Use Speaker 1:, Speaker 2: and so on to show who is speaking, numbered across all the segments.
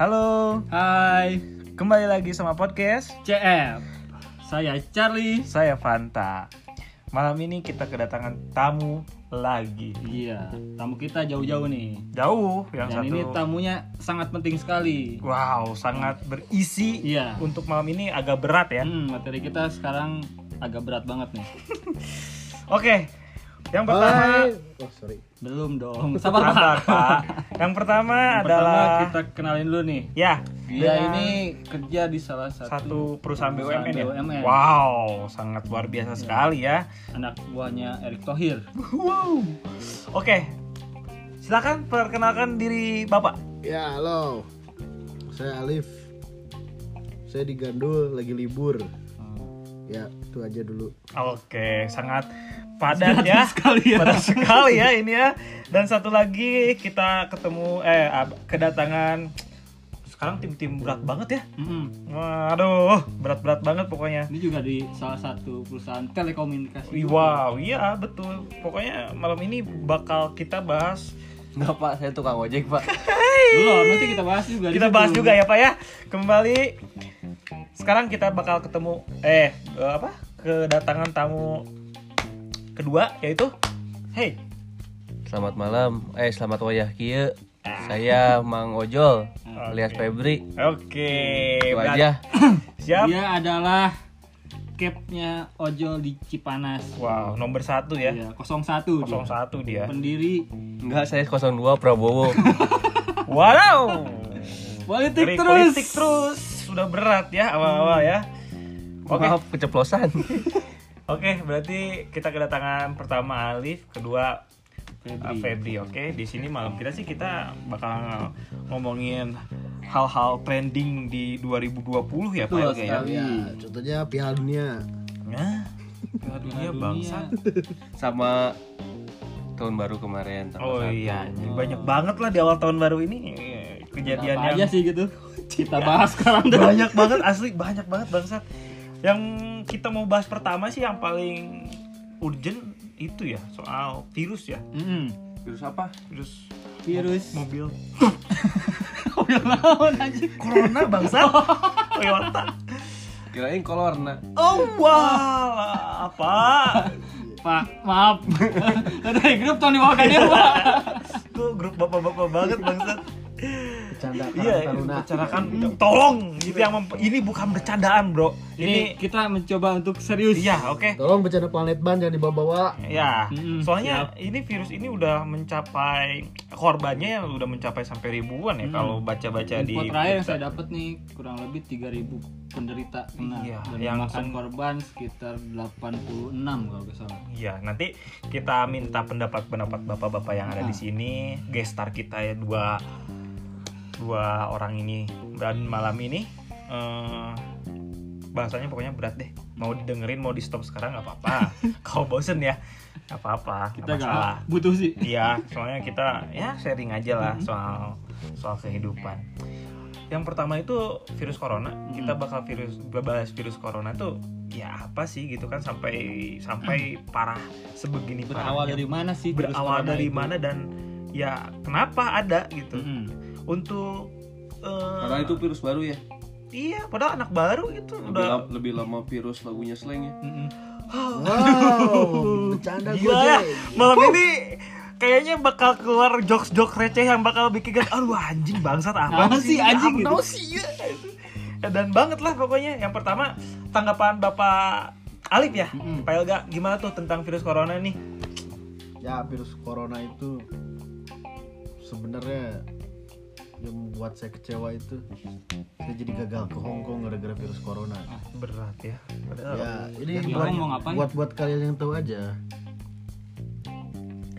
Speaker 1: Halo,
Speaker 2: Hai
Speaker 1: kembali lagi sama podcast.
Speaker 2: CF Saya Charlie
Speaker 1: Saya Fanta. Malam ini kita kedatangan tamu lagi.
Speaker 2: Iya tamu kita jauh-jauh nih
Speaker 1: Jauh yang
Speaker 2: Dan
Speaker 1: satu.
Speaker 2: ini tamunya sangat penting sekali
Speaker 1: Wow, sangat berisi.
Speaker 2: Iya
Speaker 1: Untuk malam ini agak berat ya.
Speaker 2: Hmm, Materi kita sekarang agak berat banget nih
Speaker 1: Oke. Yang pertama,
Speaker 3: Oh, sorry.
Speaker 2: Belum dong Sabar Pak
Speaker 1: sabar, Pak. Yang pertama
Speaker 2: Yang Pertama
Speaker 1: adalah
Speaker 2: kita kenalin dulu nih
Speaker 1: ya,
Speaker 2: Dia
Speaker 1: dengan
Speaker 2: ini kerja di salah satu
Speaker 1: satu perusahaan
Speaker 2: perusahaan
Speaker 1: BUMN,
Speaker 2: BUMN.
Speaker 1: ya. Wow, sangat luar biasa
Speaker 2: Iya.
Speaker 1: sekali ya.
Speaker 2: anak buahnya Erick Thohir
Speaker 1: Wow. Oke. Silakan perkenalkan diri Bapak.
Speaker 3: Ya, halo. Saya Alif. Saya di Gandul lagi libur. Ya, itu aja dulu.
Speaker 1: Oke, sangat padat ya.
Speaker 2: Sekali ya
Speaker 1: Padat sekali ya ini ya. Dan satu lagi kita ketemu eh ab- kedatangan sekarang tim-tim berat banget ya.
Speaker 2: Mm-mm.
Speaker 1: Waduh, berat-berat banget pokoknya.
Speaker 2: Ini juga di salah satu perusahaan telekomunikasi
Speaker 1: Wih, Wow, iya betul. Pokoknya malam ini bakal kita bahas
Speaker 4: Enggak pak, saya tukang ojek pak
Speaker 2: Belum, nanti kita bahas juga di
Speaker 1: kita
Speaker 2: situ.
Speaker 1: bahas juga ya Pak ya. Kembali sekarang kita bakal ketemu eh eh, apa? kedatangan tamu kedua yaitu Hey,
Speaker 4: Selamat malam, eh selamat wayah kia Saya Mang Ojol, alias Febri
Speaker 1: Oke,
Speaker 4: Itu
Speaker 1: berarti-
Speaker 4: aja
Speaker 1: Siap.
Speaker 2: Dia adalah capnya Ojol di Cipanas.
Speaker 1: Wow, nomor satu ya.
Speaker 2: Iya, 01. dia.
Speaker 1: 01 dia.
Speaker 2: Pendiri
Speaker 4: Enggak, saya 02 Prabowo
Speaker 1: Wow.
Speaker 2: politik
Speaker 1: Dari
Speaker 2: terus.
Speaker 1: politik terus. Sudah berat ya awal-awal ya.
Speaker 2: Hmm.
Speaker 1: Oke.
Speaker 4: Maaf, keceplosan
Speaker 1: Oke, berarti kita kedatangan pertama Alif, kedua uh,
Speaker 2: Febri.
Speaker 1: Febri. Oke, di sini malam kita sih kita bakal ngomongin hal-hal trending di 2020 ya Pak Elga,
Speaker 2: Betul
Speaker 1: ya.
Speaker 2: sekali.
Speaker 3: Ya, contohnya Piala Dunia.
Speaker 1: Nah, Piala dunia
Speaker 2: Nah,
Speaker 1: bangsa.
Speaker 4: Sama tahun baru kemarin sama
Speaker 1: Oh
Speaker 4: satu.
Speaker 1: iya,
Speaker 2: Nah.
Speaker 1: banyak banget lah di awal tahun baru ini eh,
Speaker 2: Kejadian
Speaker 1: kejadiannya.
Speaker 2: aja sih gitu. Kita
Speaker 1: Ya.
Speaker 2: bahas sekarang dah.
Speaker 1: banyak banget asli banyak banget bangsat yang kita mau bahas pertama sih yang paling urgent itu ya soal virus ya
Speaker 2: Mm-mm.
Speaker 4: Virus apa?
Speaker 1: virus
Speaker 2: Virus.
Speaker 1: mobil
Speaker 2: Mobil lawan aja.
Speaker 1: corona bangsat Toyota
Speaker 4: Kirain nah. kolorna
Speaker 1: oh wah apa
Speaker 2: Pak, maaf. Dari grup Tony Walker dia, Pak.
Speaker 1: tuh grup bapak-bapak banget bangsat
Speaker 3: Bercanda
Speaker 1: iya bicarakan tolong gitu yang mem- ini bukan bercandaan bro
Speaker 2: Ini
Speaker 1: ini
Speaker 2: kita mencoba untuk serius.
Speaker 1: iya oke
Speaker 3: Tolong bercanda planet ban jangan dibawa-bawa.
Speaker 2: Hmm.
Speaker 1: Ya,
Speaker 2: Mm-mm,
Speaker 1: soalnya ini virus ini udah mencapai korbannya yang udah mencapai sampai ribuan ya
Speaker 2: Mm.
Speaker 1: kalau baca-baca di
Speaker 2: Info terakhir yang
Speaker 1: berita.
Speaker 2: saya dapat nih kurang lebih 3000 penderita kena
Speaker 1: Iya,
Speaker 2: dan
Speaker 1: yang
Speaker 2: makan
Speaker 1: sem-
Speaker 2: korban sekitar 86 kalau nggak salah.
Speaker 1: Iya, nanti kita minta pendapat-pendapat bapak-bapak yang ada di
Speaker 2: Ah.
Speaker 1: sini, gestar kita ya dua dua orang ini dan malam ini eh, bahasanya pokoknya berat deh. Mau didengerin, mau di stop sekarang nggak apa-apa. kalau bosen ya, nggak apa-apa. nggak
Speaker 2: Kita nggak
Speaker 1: masalah.
Speaker 2: butuh sih.
Speaker 1: Iya, soalnya kita ya sharing aja lah
Speaker 2: Mm-hmm.
Speaker 1: soal soal kehidupan. Yang pertama itu virus corona. Kita
Speaker 2: Mm.
Speaker 1: bakal virus bahas virus corona tuh ya apa sih gitu kan sampai sampai parah sebegini
Speaker 2: Mm. Berawal
Speaker 1: parahnya.
Speaker 2: dari mana sih? virus
Speaker 1: berawal
Speaker 2: corona
Speaker 1: dari
Speaker 2: itu? Mm-hmm.
Speaker 1: mana dan ya kenapa ada gitu.
Speaker 2: Mm-mm.
Speaker 1: Untuk eh,
Speaker 4: Padahal itu virus baru ya
Speaker 1: iya padahal anak baru itu
Speaker 4: Lebih,
Speaker 1: udah
Speaker 4: lama, lebih lama virus lagunya slang ya
Speaker 2: Mm-mm.
Speaker 3: Wow, bercanda gue.
Speaker 1: Gila ya,
Speaker 3: Jay.
Speaker 1: malam ini kayaknya bakal keluar jokes-jokes receh yang bakal bikin kan aduh anjing bangsat apa
Speaker 2: Apa sih, anjing gitu?"
Speaker 1: sih ya?" Ya, dan banget lah pokoknya yang pertama tanggapan bapak Alif ya
Speaker 2: Mm-mm.
Speaker 1: Pak Elga gimana tuh tentang virus corona nih
Speaker 3: Ya, virus corona itu sebenarnya yang membuat saya kecewa itu saya jadi gagal ke Hong Kong gara-gara virus corona.
Speaker 1: berat ya Padahal-
Speaker 3: Ya, ini
Speaker 2: Yang
Speaker 3: buat
Speaker 2: ngomong ngapain?
Speaker 3: buat buat kalian yang tahu aja.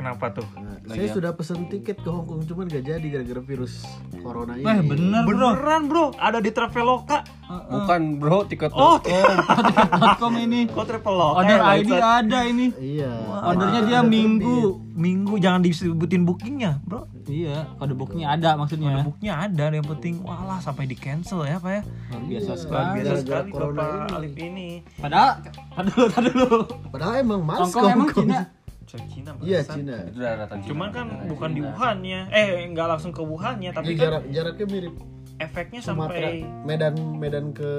Speaker 1: Kenapa tuh?
Speaker 3: Nah,
Speaker 4: Lagi
Speaker 3: saya
Speaker 4: apa?
Speaker 3: sudah pesen tiket ke Hong Kong cuman gak jadi gara-gara virus corona ini.
Speaker 2: Wah Hmm. Eh, bener bro.
Speaker 1: Beneran bro, ada di Traveloka.
Speaker 4: Bukan bro, tiket
Speaker 1: Oh,
Speaker 2: Tiket.com ini.
Speaker 1: kok Traveloka?
Speaker 2: Order
Speaker 1: ya,
Speaker 2: ID
Speaker 1: bangsat?
Speaker 2: ada ini.
Speaker 3: Iya.
Speaker 2: Ordernya dia
Speaker 3: Ada
Speaker 2: minggu.
Speaker 1: Minggu jangan disebutin bookingnya, bro.
Speaker 2: Iya, kode booknya ada maksudnya.
Speaker 1: Booknya ada, yang penting walah sampai di cancel ya pak ya.
Speaker 2: Luar biasa
Speaker 3: Iya.
Speaker 1: Luar
Speaker 2: sekali.
Speaker 1: biasa
Speaker 3: Gara-gara
Speaker 1: sekali
Speaker 3: corona
Speaker 1: Bapak
Speaker 3: ini.
Speaker 1: Alif ini.
Speaker 2: Padahal, padahal dulu, tar dulu.
Speaker 3: terbit. Padahal emang mas
Speaker 2: Hongkong emang Cina.
Speaker 1: Cek Cina,
Speaker 3: Iya
Speaker 1: bangsat.
Speaker 3: Cina.
Speaker 4: Itu udah datang Cina.
Speaker 1: Cuman kan
Speaker 4: Datang
Speaker 1: bukan
Speaker 4: Cina.
Speaker 1: di Wuhannya, eh nggak langsung ke Wuhannya,
Speaker 3: Ini
Speaker 1: tapi kan
Speaker 3: jarak jaraknya mirip
Speaker 1: efeknya
Speaker 3: Iya, Sumatera,
Speaker 1: sampai,
Speaker 3: Medan Medan ke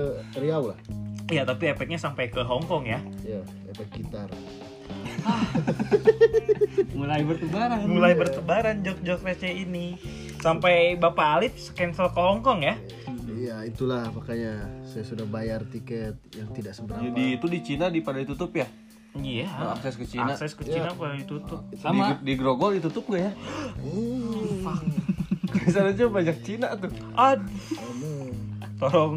Speaker 3: Riau lah.
Speaker 1: ya tapi efeknya sampai ke Hong Kong ya.
Speaker 3: Iya, efek gitar.
Speaker 2: Mulai bertebaran.
Speaker 3: Iya.
Speaker 1: Mulai bertebaran jok-jok receh ini sampai Bapak Alif cancel ke Hong Kong ya.
Speaker 3: Iya, itulah makanya saya sudah bayar tiket yang tidak seberapa.
Speaker 4: Jadi itu di Cina di pada ditutup ya?
Speaker 1: Iya.
Speaker 4: Akses ke Cina.
Speaker 1: Akses ke
Speaker 3: Iya.
Speaker 1: Cina pada ditutup.
Speaker 2: Sama.
Speaker 4: Di, di Grogol ditutup nggak ya?
Speaker 3: Hmm,
Speaker 4: Di sana aja banyak Cina tuh.
Speaker 3: Oh.
Speaker 1: Aduh.
Speaker 3: kamu.
Speaker 1: tolong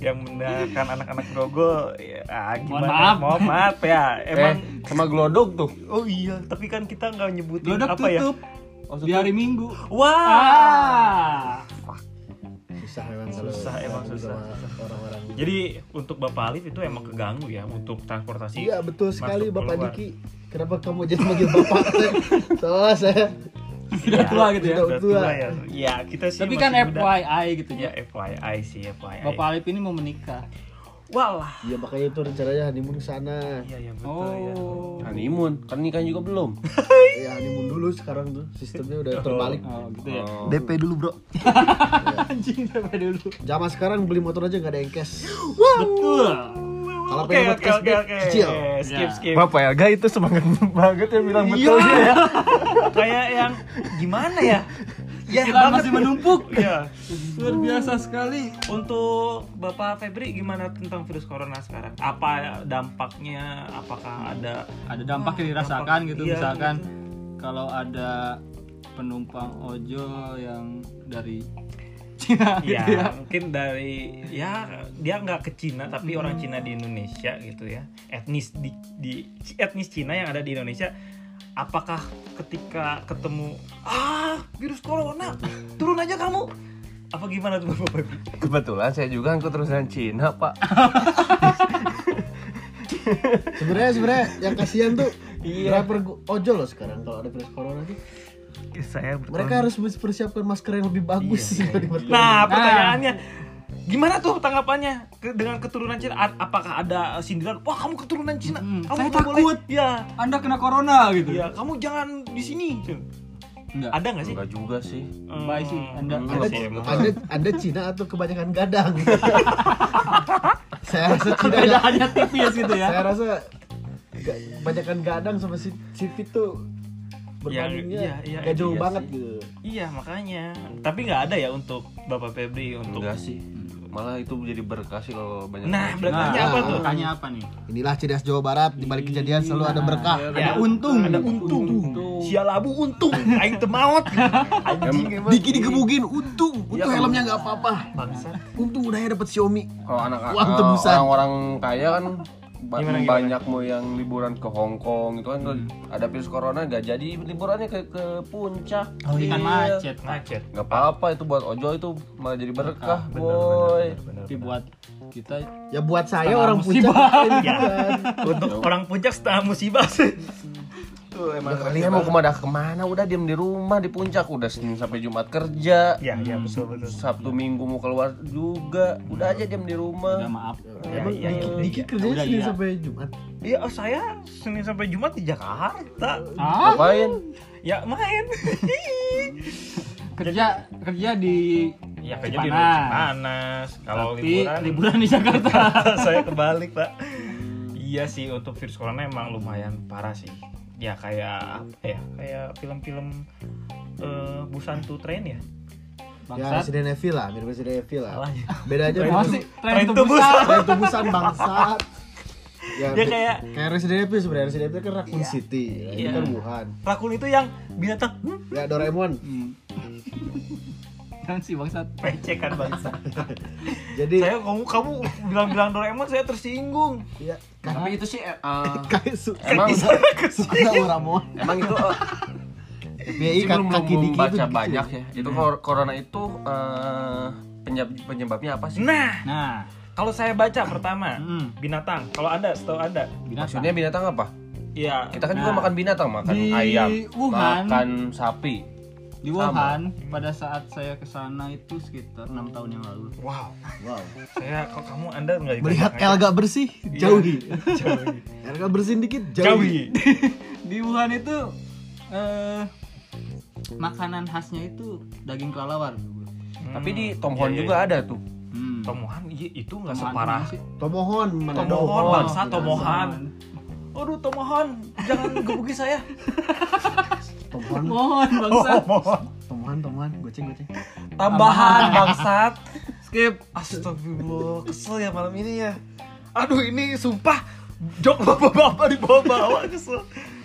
Speaker 1: yang mendengarkan anak-anak grogol ya ah, gimana
Speaker 2: maaf.
Speaker 1: mohon maaf ya emang
Speaker 4: eh, sama Glodok tuh.
Speaker 1: oh iya tapi kan kita nggak nyebutin
Speaker 2: Glodok
Speaker 1: apa ya
Speaker 2: tutup.
Speaker 4: Oh,
Speaker 2: Di hari Minggu.
Speaker 1: wah
Speaker 2: Ah.
Speaker 3: susah memang kalau
Speaker 1: Susah,
Speaker 3: kalau
Speaker 1: emang
Speaker 3: sama
Speaker 1: susah, susah.
Speaker 3: orang-orang.
Speaker 1: jadi untuk bapak Alif itu emang keganggu ya untuk transportasi
Speaker 3: Iya, betul sekali
Speaker 1: masuk
Speaker 3: Bapak
Speaker 1: keluar.
Speaker 3: Diki. Kenapa kamu jadi manggil Bapak? Soalnya saya
Speaker 2: Sudah tua gitu ya.
Speaker 3: Sudah
Speaker 1: Udah
Speaker 3: tua.
Speaker 1: tua ya ya kita sih
Speaker 2: Tapi
Speaker 1: masih
Speaker 2: kan
Speaker 1: muda. iya.
Speaker 2: FYI gitu
Speaker 1: ya
Speaker 2: ya.
Speaker 1: FYI sih FYI
Speaker 2: Bapak Alif ini mau menikah.
Speaker 1: walah
Speaker 3: Iya makanya itu rencananya honeymoon sana.
Speaker 1: iya ya betul ya
Speaker 2: Oh.
Speaker 4: Honeymoon, kan nikah juga belum.
Speaker 3: Ya honeymoon dulu sekarang tuh sistemnya udah terbalik.
Speaker 2: Oh gitu ya.
Speaker 4: Oh.
Speaker 3: DP dulu bro.
Speaker 2: Anjing sampai dulu.
Speaker 3: Zaman sekarang beli motor aja nggak ada engkes.
Speaker 2: Betul.
Speaker 3: Kalau
Speaker 1: Oke
Speaker 3: pengen buat
Speaker 1: oke oke
Speaker 3: cashback,
Speaker 1: oke
Speaker 3: kecil.
Speaker 1: skip
Speaker 2: Ya. Iya.
Speaker 1: skip
Speaker 4: Bapak Elga itu semangat banget ya bilang betul dia ya.
Speaker 1: kayak yang gimana ya ya
Speaker 2: Pikiran
Speaker 1: banget
Speaker 2: masih menumpuk.
Speaker 1: ya
Speaker 2: Luar biasa sekali.
Speaker 1: Untuk Bapak Febri gimana tentang virus corona sekarang? Apa dampaknya? Apakah ada
Speaker 2: Ada dampak yang dirasakan gitu misalkan kalau ada penumpang ojol yang dari Cina
Speaker 1: ya,
Speaker 2: gitu ya.
Speaker 1: mungkin dari ya dia nggak ke Cina tapi orang Cina di Indonesia gitu ya. Etnis di, di etnis Cina yang ada di Indonesia apakah ketika ketemu ah virus corona turun aja kamu apa gimana tuh Bapak Febri?
Speaker 4: Kebetulan saya juga angkut terusan Cina, Pak.
Speaker 3: Sebenarnya sebenarnya yang kasihan tuh
Speaker 2: Iya.
Speaker 3: driver go- ojol loh sekarang kalau ada virus corona tuh.
Speaker 1: Saya
Speaker 3: Mereka harus mempersiapkan masker yang lebih bagus
Speaker 2: Iya,
Speaker 3: daripada-
Speaker 1: Nah, pertanyaannya gimana tuh tanggapannya ke- dengan keturunan Cina? A- Apakah ada uh, sindiran? Wah, kamu keturunan Cina.
Speaker 2: Hmm,
Speaker 1: kamu
Speaker 2: saya
Speaker 1: nggak
Speaker 2: takut."
Speaker 1: Boleh. Ya,
Speaker 2: Anda kena corona gitu.
Speaker 1: ya, kamu jangan di sini.
Speaker 2: Enggak.
Speaker 1: Ada nggak sih?
Speaker 4: Enggak juga sih.
Speaker 1: Hmm,
Speaker 2: Baik sih, Anda-
Speaker 1: enggak
Speaker 3: Anda,
Speaker 1: sih, emang.
Speaker 3: anda, anda Cina atau kebanyakan gadang? saya rasa Cina nggak-
Speaker 2: Perbedaannya tipis gitu ya.
Speaker 3: saya rasa ga- kebanyakan gadang sama si Civi tuh
Speaker 1: iya,
Speaker 3: berbandingnya
Speaker 1: iya,
Speaker 3: gak jauh
Speaker 4: iya
Speaker 3: banget
Speaker 4: sih.
Speaker 3: gitu.
Speaker 1: Iya, makanya. Tapi nggak ada ya untuk Bapak Febri untuk.
Speaker 4: Enggak sih. Malah itu menjadi berkah sih kalau banyak
Speaker 1: Nah,
Speaker 4: orang Cina.
Speaker 1: berarti apa tuh?
Speaker 2: Tanya apa nih?
Speaker 3: Inilah Cidas Jawa Barat di balik kejadian selalu ada berkah.
Speaker 1: Ya,
Speaker 2: Ada untung.
Speaker 1: Ada untung. Sialabu untung. Aing temaot. Anjing emang.
Speaker 3: Diki digebukin untung, untung helmnya nggak apa-apa.
Speaker 1: Bangsa.
Speaker 3: Untung udahnya dapat Xiaomi.
Speaker 4: kalau anak
Speaker 3: Uang tebusan.
Speaker 4: orang-orang kaya kan ba-
Speaker 1: Gimana, gimana?
Speaker 4: banyak mau yang liburan ke Hong Kong itu kan ada virus corona nggak jadi liburannya ke ke puncak
Speaker 2: Oh, ikan
Speaker 4: Iya.
Speaker 2: macet.
Speaker 1: Macet.
Speaker 4: nggak apa-apa itu buat ojol itu malah jadi berkah boy
Speaker 2: Tapi buat kita
Speaker 3: Ya buat saya
Speaker 2: Setengah
Speaker 3: orang puncak
Speaker 2: musibah.
Speaker 3: ini
Speaker 1: Ya.
Speaker 3: kan.
Speaker 1: Untuk orang puncak setengah musibah sih. Tuh emang.
Speaker 4: kalian mau kemana kemana udah diem di rumah di puncak udah senin sampai jumat kerja
Speaker 1: Ya, ya betul betul.
Speaker 4: sabtu minggu mau keluar juga udah aja diem
Speaker 2: udah
Speaker 4: di rumah
Speaker 2: maaf.
Speaker 1: Ya,
Speaker 3: Emang
Speaker 1: ya,
Speaker 3: Diki,
Speaker 1: ya,
Speaker 3: Diki
Speaker 1: ya.
Speaker 3: kerjanya
Speaker 2: Udah,
Speaker 3: Senin
Speaker 2: iya.
Speaker 3: sampai Jumat. Ya,
Speaker 1: Iya, oh, saya Senin sampai Jumat di Jakarta.
Speaker 2: Ah,
Speaker 4: ngapain
Speaker 1: Ya main.
Speaker 2: kerja kerja di
Speaker 1: ya kerja di
Speaker 2: Cipanas.
Speaker 1: panas. Kalau
Speaker 2: Tapi
Speaker 1: liburan, Ya,
Speaker 2: liburan di Jakarta.
Speaker 1: saya kebalik pak. Iya sih untuk virus corona emang lumayan parah sih. Ya kayak apa ya? Kayak film-film eh, Busan to Train ya.
Speaker 3: Ya
Speaker 2: Bangsat.
Speaker 3: Resident Evil lah, mirip Resident Evil lah.
Speaker 1: Salah ya.
Speaker 3: Beda aja.
Speaker 2: Kenapa
Speaker 3: beda-
Speaker 2: sih?
Speaker 1: Tren
Speaker 2: Tren
Speaker 1: itu
Speaker 2: tebusan.
Speaker 3: Kayak tubusan bangsat. Ya,
Speaker 1: Ya,
Speaker 3: be-
Speaker 1: kayak-
Speaker 3: kayak Resident Evil sebenarnya Resident Evil kan Raccoon City, ya, ini
Speaker 1: Iya.
Speaker 3: kan Wuhan.
Speaker 1: Rakun itu yang binatang. Hmm,
Speaker 3: Ya Doraemon.
Speaker 2: kan si bangsat
Speaker 1: Pece kan bangsa.
Speaker 3: Jadi
Speaker 1: saya kamu kamu bilang-bilang Doraemon saya tersinggung.
Speaker 3: ya
Speaker 4: Tapi itu sih eh, eh,
Speaker 3: kayak su-
Speaker 4: emang
Speaker 3: kata orang mau.
Speaker 4: emang itu eh,
Speaker 3: BI
Speaker 4: sih belum
Speaker 3: Iya, kaki kaki
Speaker 4: belum
Speaker 3: dikit
Speaker 4: baca
Speaker 3: tuh gitu.
Speaker 4: banyak ya. Itu kor- corona itu eh, penyebab penyebabnya apa sih?
Speaker 1: Nah,
Speaker 2: nah
Speaker 1: kalau saya baca pertama
Speaker 2: Hmm.
Speaker 1: binatang. Kalau ada, setahu ada.
Speaker 2: binatang
Speaker 4: Maksudnya binatang apa?
Speaker 1: Ya,
Speaker 4: Kita kan juga
Speaker 2: Nah.
Speaker 4: makan binatang, makan
Speaker 2: Di
Speaker 4: ayam,
Speaker 2: Wuhan.
Speaker 4: makan sapi.
Speaker 2: di Wuhan pada saat saya ke sana itu sekitar enam tahun yang lalu
Speaker 1: wow.
Speaker 3: Wow.
Speaker 1: Saya kalau kamu Anda nggak dibaca,
Speaker 3: Melihat
Speaker 1: nggak?
Speaker 3: El gak bersih, jauhi.
Speaker 1: Jauhi.
Speaker 3: El gak bersih dikit,
Speaker 1: Jauhi.
Speaker 3: jauhi.
Speaker 2: di Wuhan itu eh makanan khasnya itu daging kelelawar
Speaker 1: Hmm.
Speaker 4: Tapi di Tomhon juga ada tuh.
Speaker 2: hmm.
Speaker 1: Iya, Tomohan iya, itu nggak
Speaker 2: Tomohan
Speaker 1: separah.
Speaker 2: tuh masih-
Speaker 3: Tomohon mana
Speaker 1: Tomohon
Speaker 3: dong?
Speaker 2: Oh,
Speaker 1: bangsa Tomohan. Aduh Tomohan, jangan gebuki saya.
Speaker 3: Tomohon,
Speaker 2: Oh, mohon bangsa
Speaker 3: Tomohon, Tomohon, goceng goceng.
Speaker 1: Tambahan bangsat.
Speaker 2: skip
Speaker 1: Astagfirullah, kesel ya malam ini ya. Aduh ini sumpah jok bapak-bapak di bawah-bawah kesel.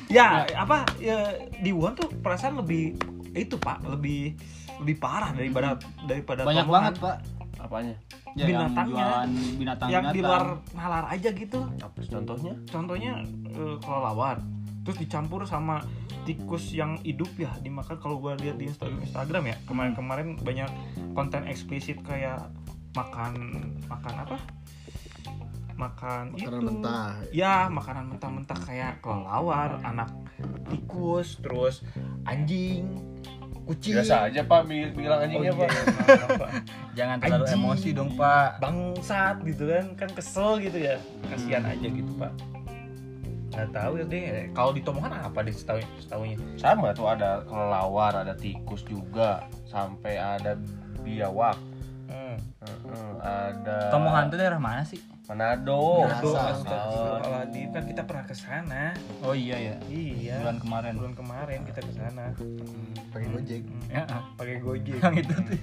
Speaker 1: Ya, apa ya, di Wuhan tuh perasaan lebih itu Pak, lebih lebih parah daripada daripada
Speaker 2: banyak
Speaker 1: Tomohan.
Speaker 2: banget pak
Speaker 4: Apanya?
Speaker 2: ya,
Speaker 1: Binatangnya.
Speaker 2: yang jualan binatang
Speaker 1: yang di luar nalar aja gitu.
Speaker 4: Apa sih contohnya?
Speaker 1: Contohnya eh, kelelawar terus dicampur sama tikus yang hidup ya dimakan kalau gua lihat di Insta- Instagram ya kemarin-kemarin banyak konten eksplisit kayak makan makan apa makan
Speaker 3: Makanan
Speaker 1: itu.
Speaker 3: mentah.
Speaker 1: ya makanan mentah-mentah kayak kelelawar anak tikus terus anjing kucing
Speaker 4: Biasa aja Pak bi- bilang
Speaker 1: Oh, iya,
Speaker 4: anjingnya Pak.
Speaker 1: maaf, Pak.
Speaker 2: jangan
Speaker 1: terlalu emosi
Speaker 2: dong pak
Speaker 1: bangsat gitu kan kan kesel gitu ya kasihan aja gitu pak nggak tahu ya deh kalau di Tomohon apa deh setahu setahunya
Speaker 4: Sama tuh ada kelelawar, ada tikus juga, sampai ada biawak.
Speaker 1: hmm.
Speaker 4: Heeh, ada
Speaker 2: Tomohan itu daerah mana sih
Speaker 4: Manado.
Speaker 1: Oh,
Speaker 4: Ah,
Speaker 3: Manado,
Speaker 1: Astagfirullahaladzim kan kita pernah ke sana
Speaker 2: oh iya ya
Speaker 1: iya
Speaker 2: bulan kemarin
Speaker 1: bulan kemarin kita ke sana
Speaker 4: Hmm,
Speaker 1: Hmm. ah,
Speaker 3: Pakai gojek.
Speaker 2: ya
Speaker 1: pakai gojek
Speaker 2: yang itu tuh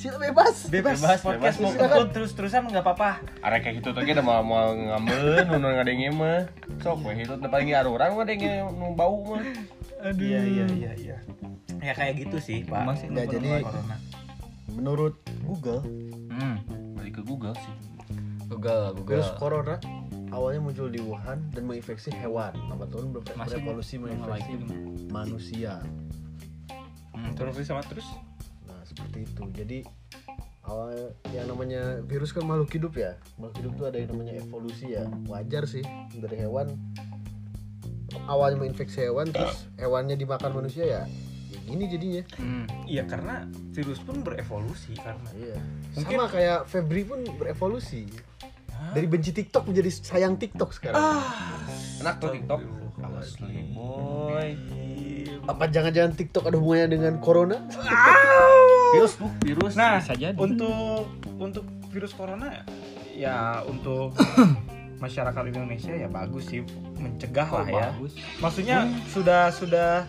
Speaker 3: Silakan Ya, bebas.
Speaker 1: bebas,
Speaker 4: Bebas,
Speaker 1: podcast
Speaker 4: bebas,
Speaker 1: mau
Speaker 4: silakan.
Speaker 1: kebut terus-terusan nggak apa-apa
Speaker 4: Arek kayak gitu tuh kita mau mau ngambil, nunun ngadengnya mah. Sok weh itu paling ada orang ngadengnya nu bau mah.
Speaker 1: aduh iya iya iya iya ya kayak gitu sih pak
Speaker 2: Masih
Speaker 3: Nggak,
Speaker 1: Belum
Speaker 3: jadi-
Speaker 1: keluar corona.
Speaker 3: Menurut Google,
Speaker 2: hmm.
Speaker 4: Balik ke Google sih.
Speaker 2: Google
Speaker 3: virus corona awalnya muncul di Wuhan dan menginfeksi hewan. Lama tahun ber-
Speaker 2: Masih
Speaker 3: berevolusi
Speaker 2: belum
Speaker 3: menginfeksi
Speaker 2: lagi.
Speaker 3: manusia.
Speaker 2: hmm, terus
Speaker 1: terus sama terus
Speaker 3: Nah seperti itu. Jadi awal yang namanya virus kan makhluk hidup ya. Makhluk hidup itu ada yang namanya evolusi ya. Wajar sih dari hewan awalnya menginfeksi hewan terus hewannya dimakan manusia ya. Ya gini jadinya.
Speaker 2: hmm.
Speaker 1: iya karena virus pun berevolusi karena
Speaker 3: Iya.
Speaker 1: Mungkin-
Speaker 3: Sama kayak Febri pun berevolusi. Dari benci TikTok menjadi sayang TikTok
Speaker 1: Ah.
Speaker 3: sekarang.
Speaker 4: Enak tuh TikTok.
Speaker 1: Asli.
Speaker 4: Boy.
Speaker 3: Apa jangan-jangan TikTok ada hubungannya dengan corona?
Speaker 4: Virus tuh, virus.
Speaker 1: Nah,
Speaker 2: Bisa jadi.
Speaker 1: untuk untuk virus corona ya untuk masyarakat Indonesia ya bagus sih mencegah lah ya.
Speaker 2: bagus
Speaker 1: Maksudnya sudah sudah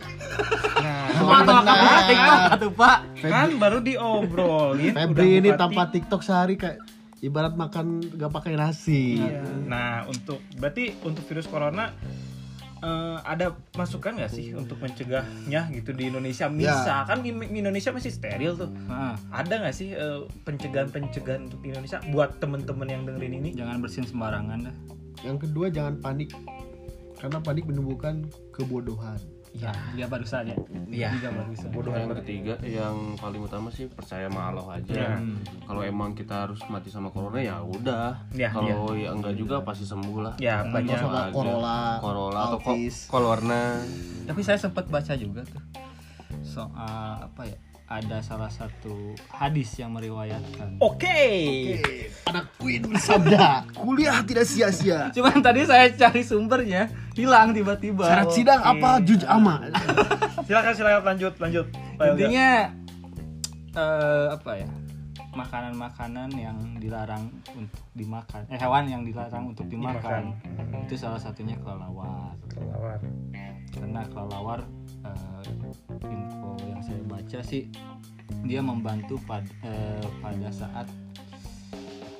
Speaker 1: nah
Speaker 3: Sebentar.
Speaker 2: tuh pak
Speaker 1: kan baru diobrolin udah
Speaker 3: Febri ini
Speaker 1: buka
Speaker 3: tanpa TikTok sehari kayak ibarat makan gak pakai nasi.
Speaker 1: Iya. Nah, untuk berarti untuk virus corona eh, ada masukan nggak sih untuk mencegahnya gitu di Indonesia? Misal kan di di Indonesia masih steril tuh.
Speaker 2: Ah,
Speaker 1: Ada nggak sih eh, pencegahan-pencegahan untuk di Indonesia buat temen-temen yang dengerin ini?
Speaker 2: jangan bersin sembarangan dah
Speaker 3: Yang kedua jangan panik karena panik menimbulkan kebodohan.
Speaker 2: Iya, dia barusan ya.
Speaker 1: Iya.
Speaker 2: Dia barusan.
Speaker 4: yang ketiga yang paling utama sih percaya sama
Speaker 1: Iya.
Speaker 4: Allah aja.
Speaker 2: Hmm.
Speaker 4: Kalau emang kita harus mati sama corona ya udah.
Speaker 1: Iya,
Speaker 4: Kalau ya enggak juga pasti sembuh lah.
Speaker 1: Ya banyak.
Speaker 3: Sama
Speaker 4: aja.
Speaker 3: Corolla,
Speaker 4: Iya, Corolla atau ko-
Speaker 3: Altis.
Speaker 4: Colorna.
Speaker 2: Tapi saya sempat baca juga tuh soal apa ya? Ada salah satu hadis yang meriwayatkan.
Speaker 1: Oke.
Speaker 3: Eh, Anak Queen bersabda, kuliah tidak sia-sia.
Speaker 2: Cuman tadi saya cari sumbernya hilang tiba-tiba.
Speaker 3: Syarat sidang apa juj ama.
Speaker 1: Silakan silakan lanjut lanjut.
Speaker 2: Intinya eh, apa ya? Makanan-makanan yang dilarang untuk dimakan, eh hewan yang dilarang untuk dimakan, itu salah satunya kelelawar.
Speaker 1: Kelelawar.
Speaker 2: karena kelelawar eh, info yang saya baca sih dia membantu pad- eh, pada saat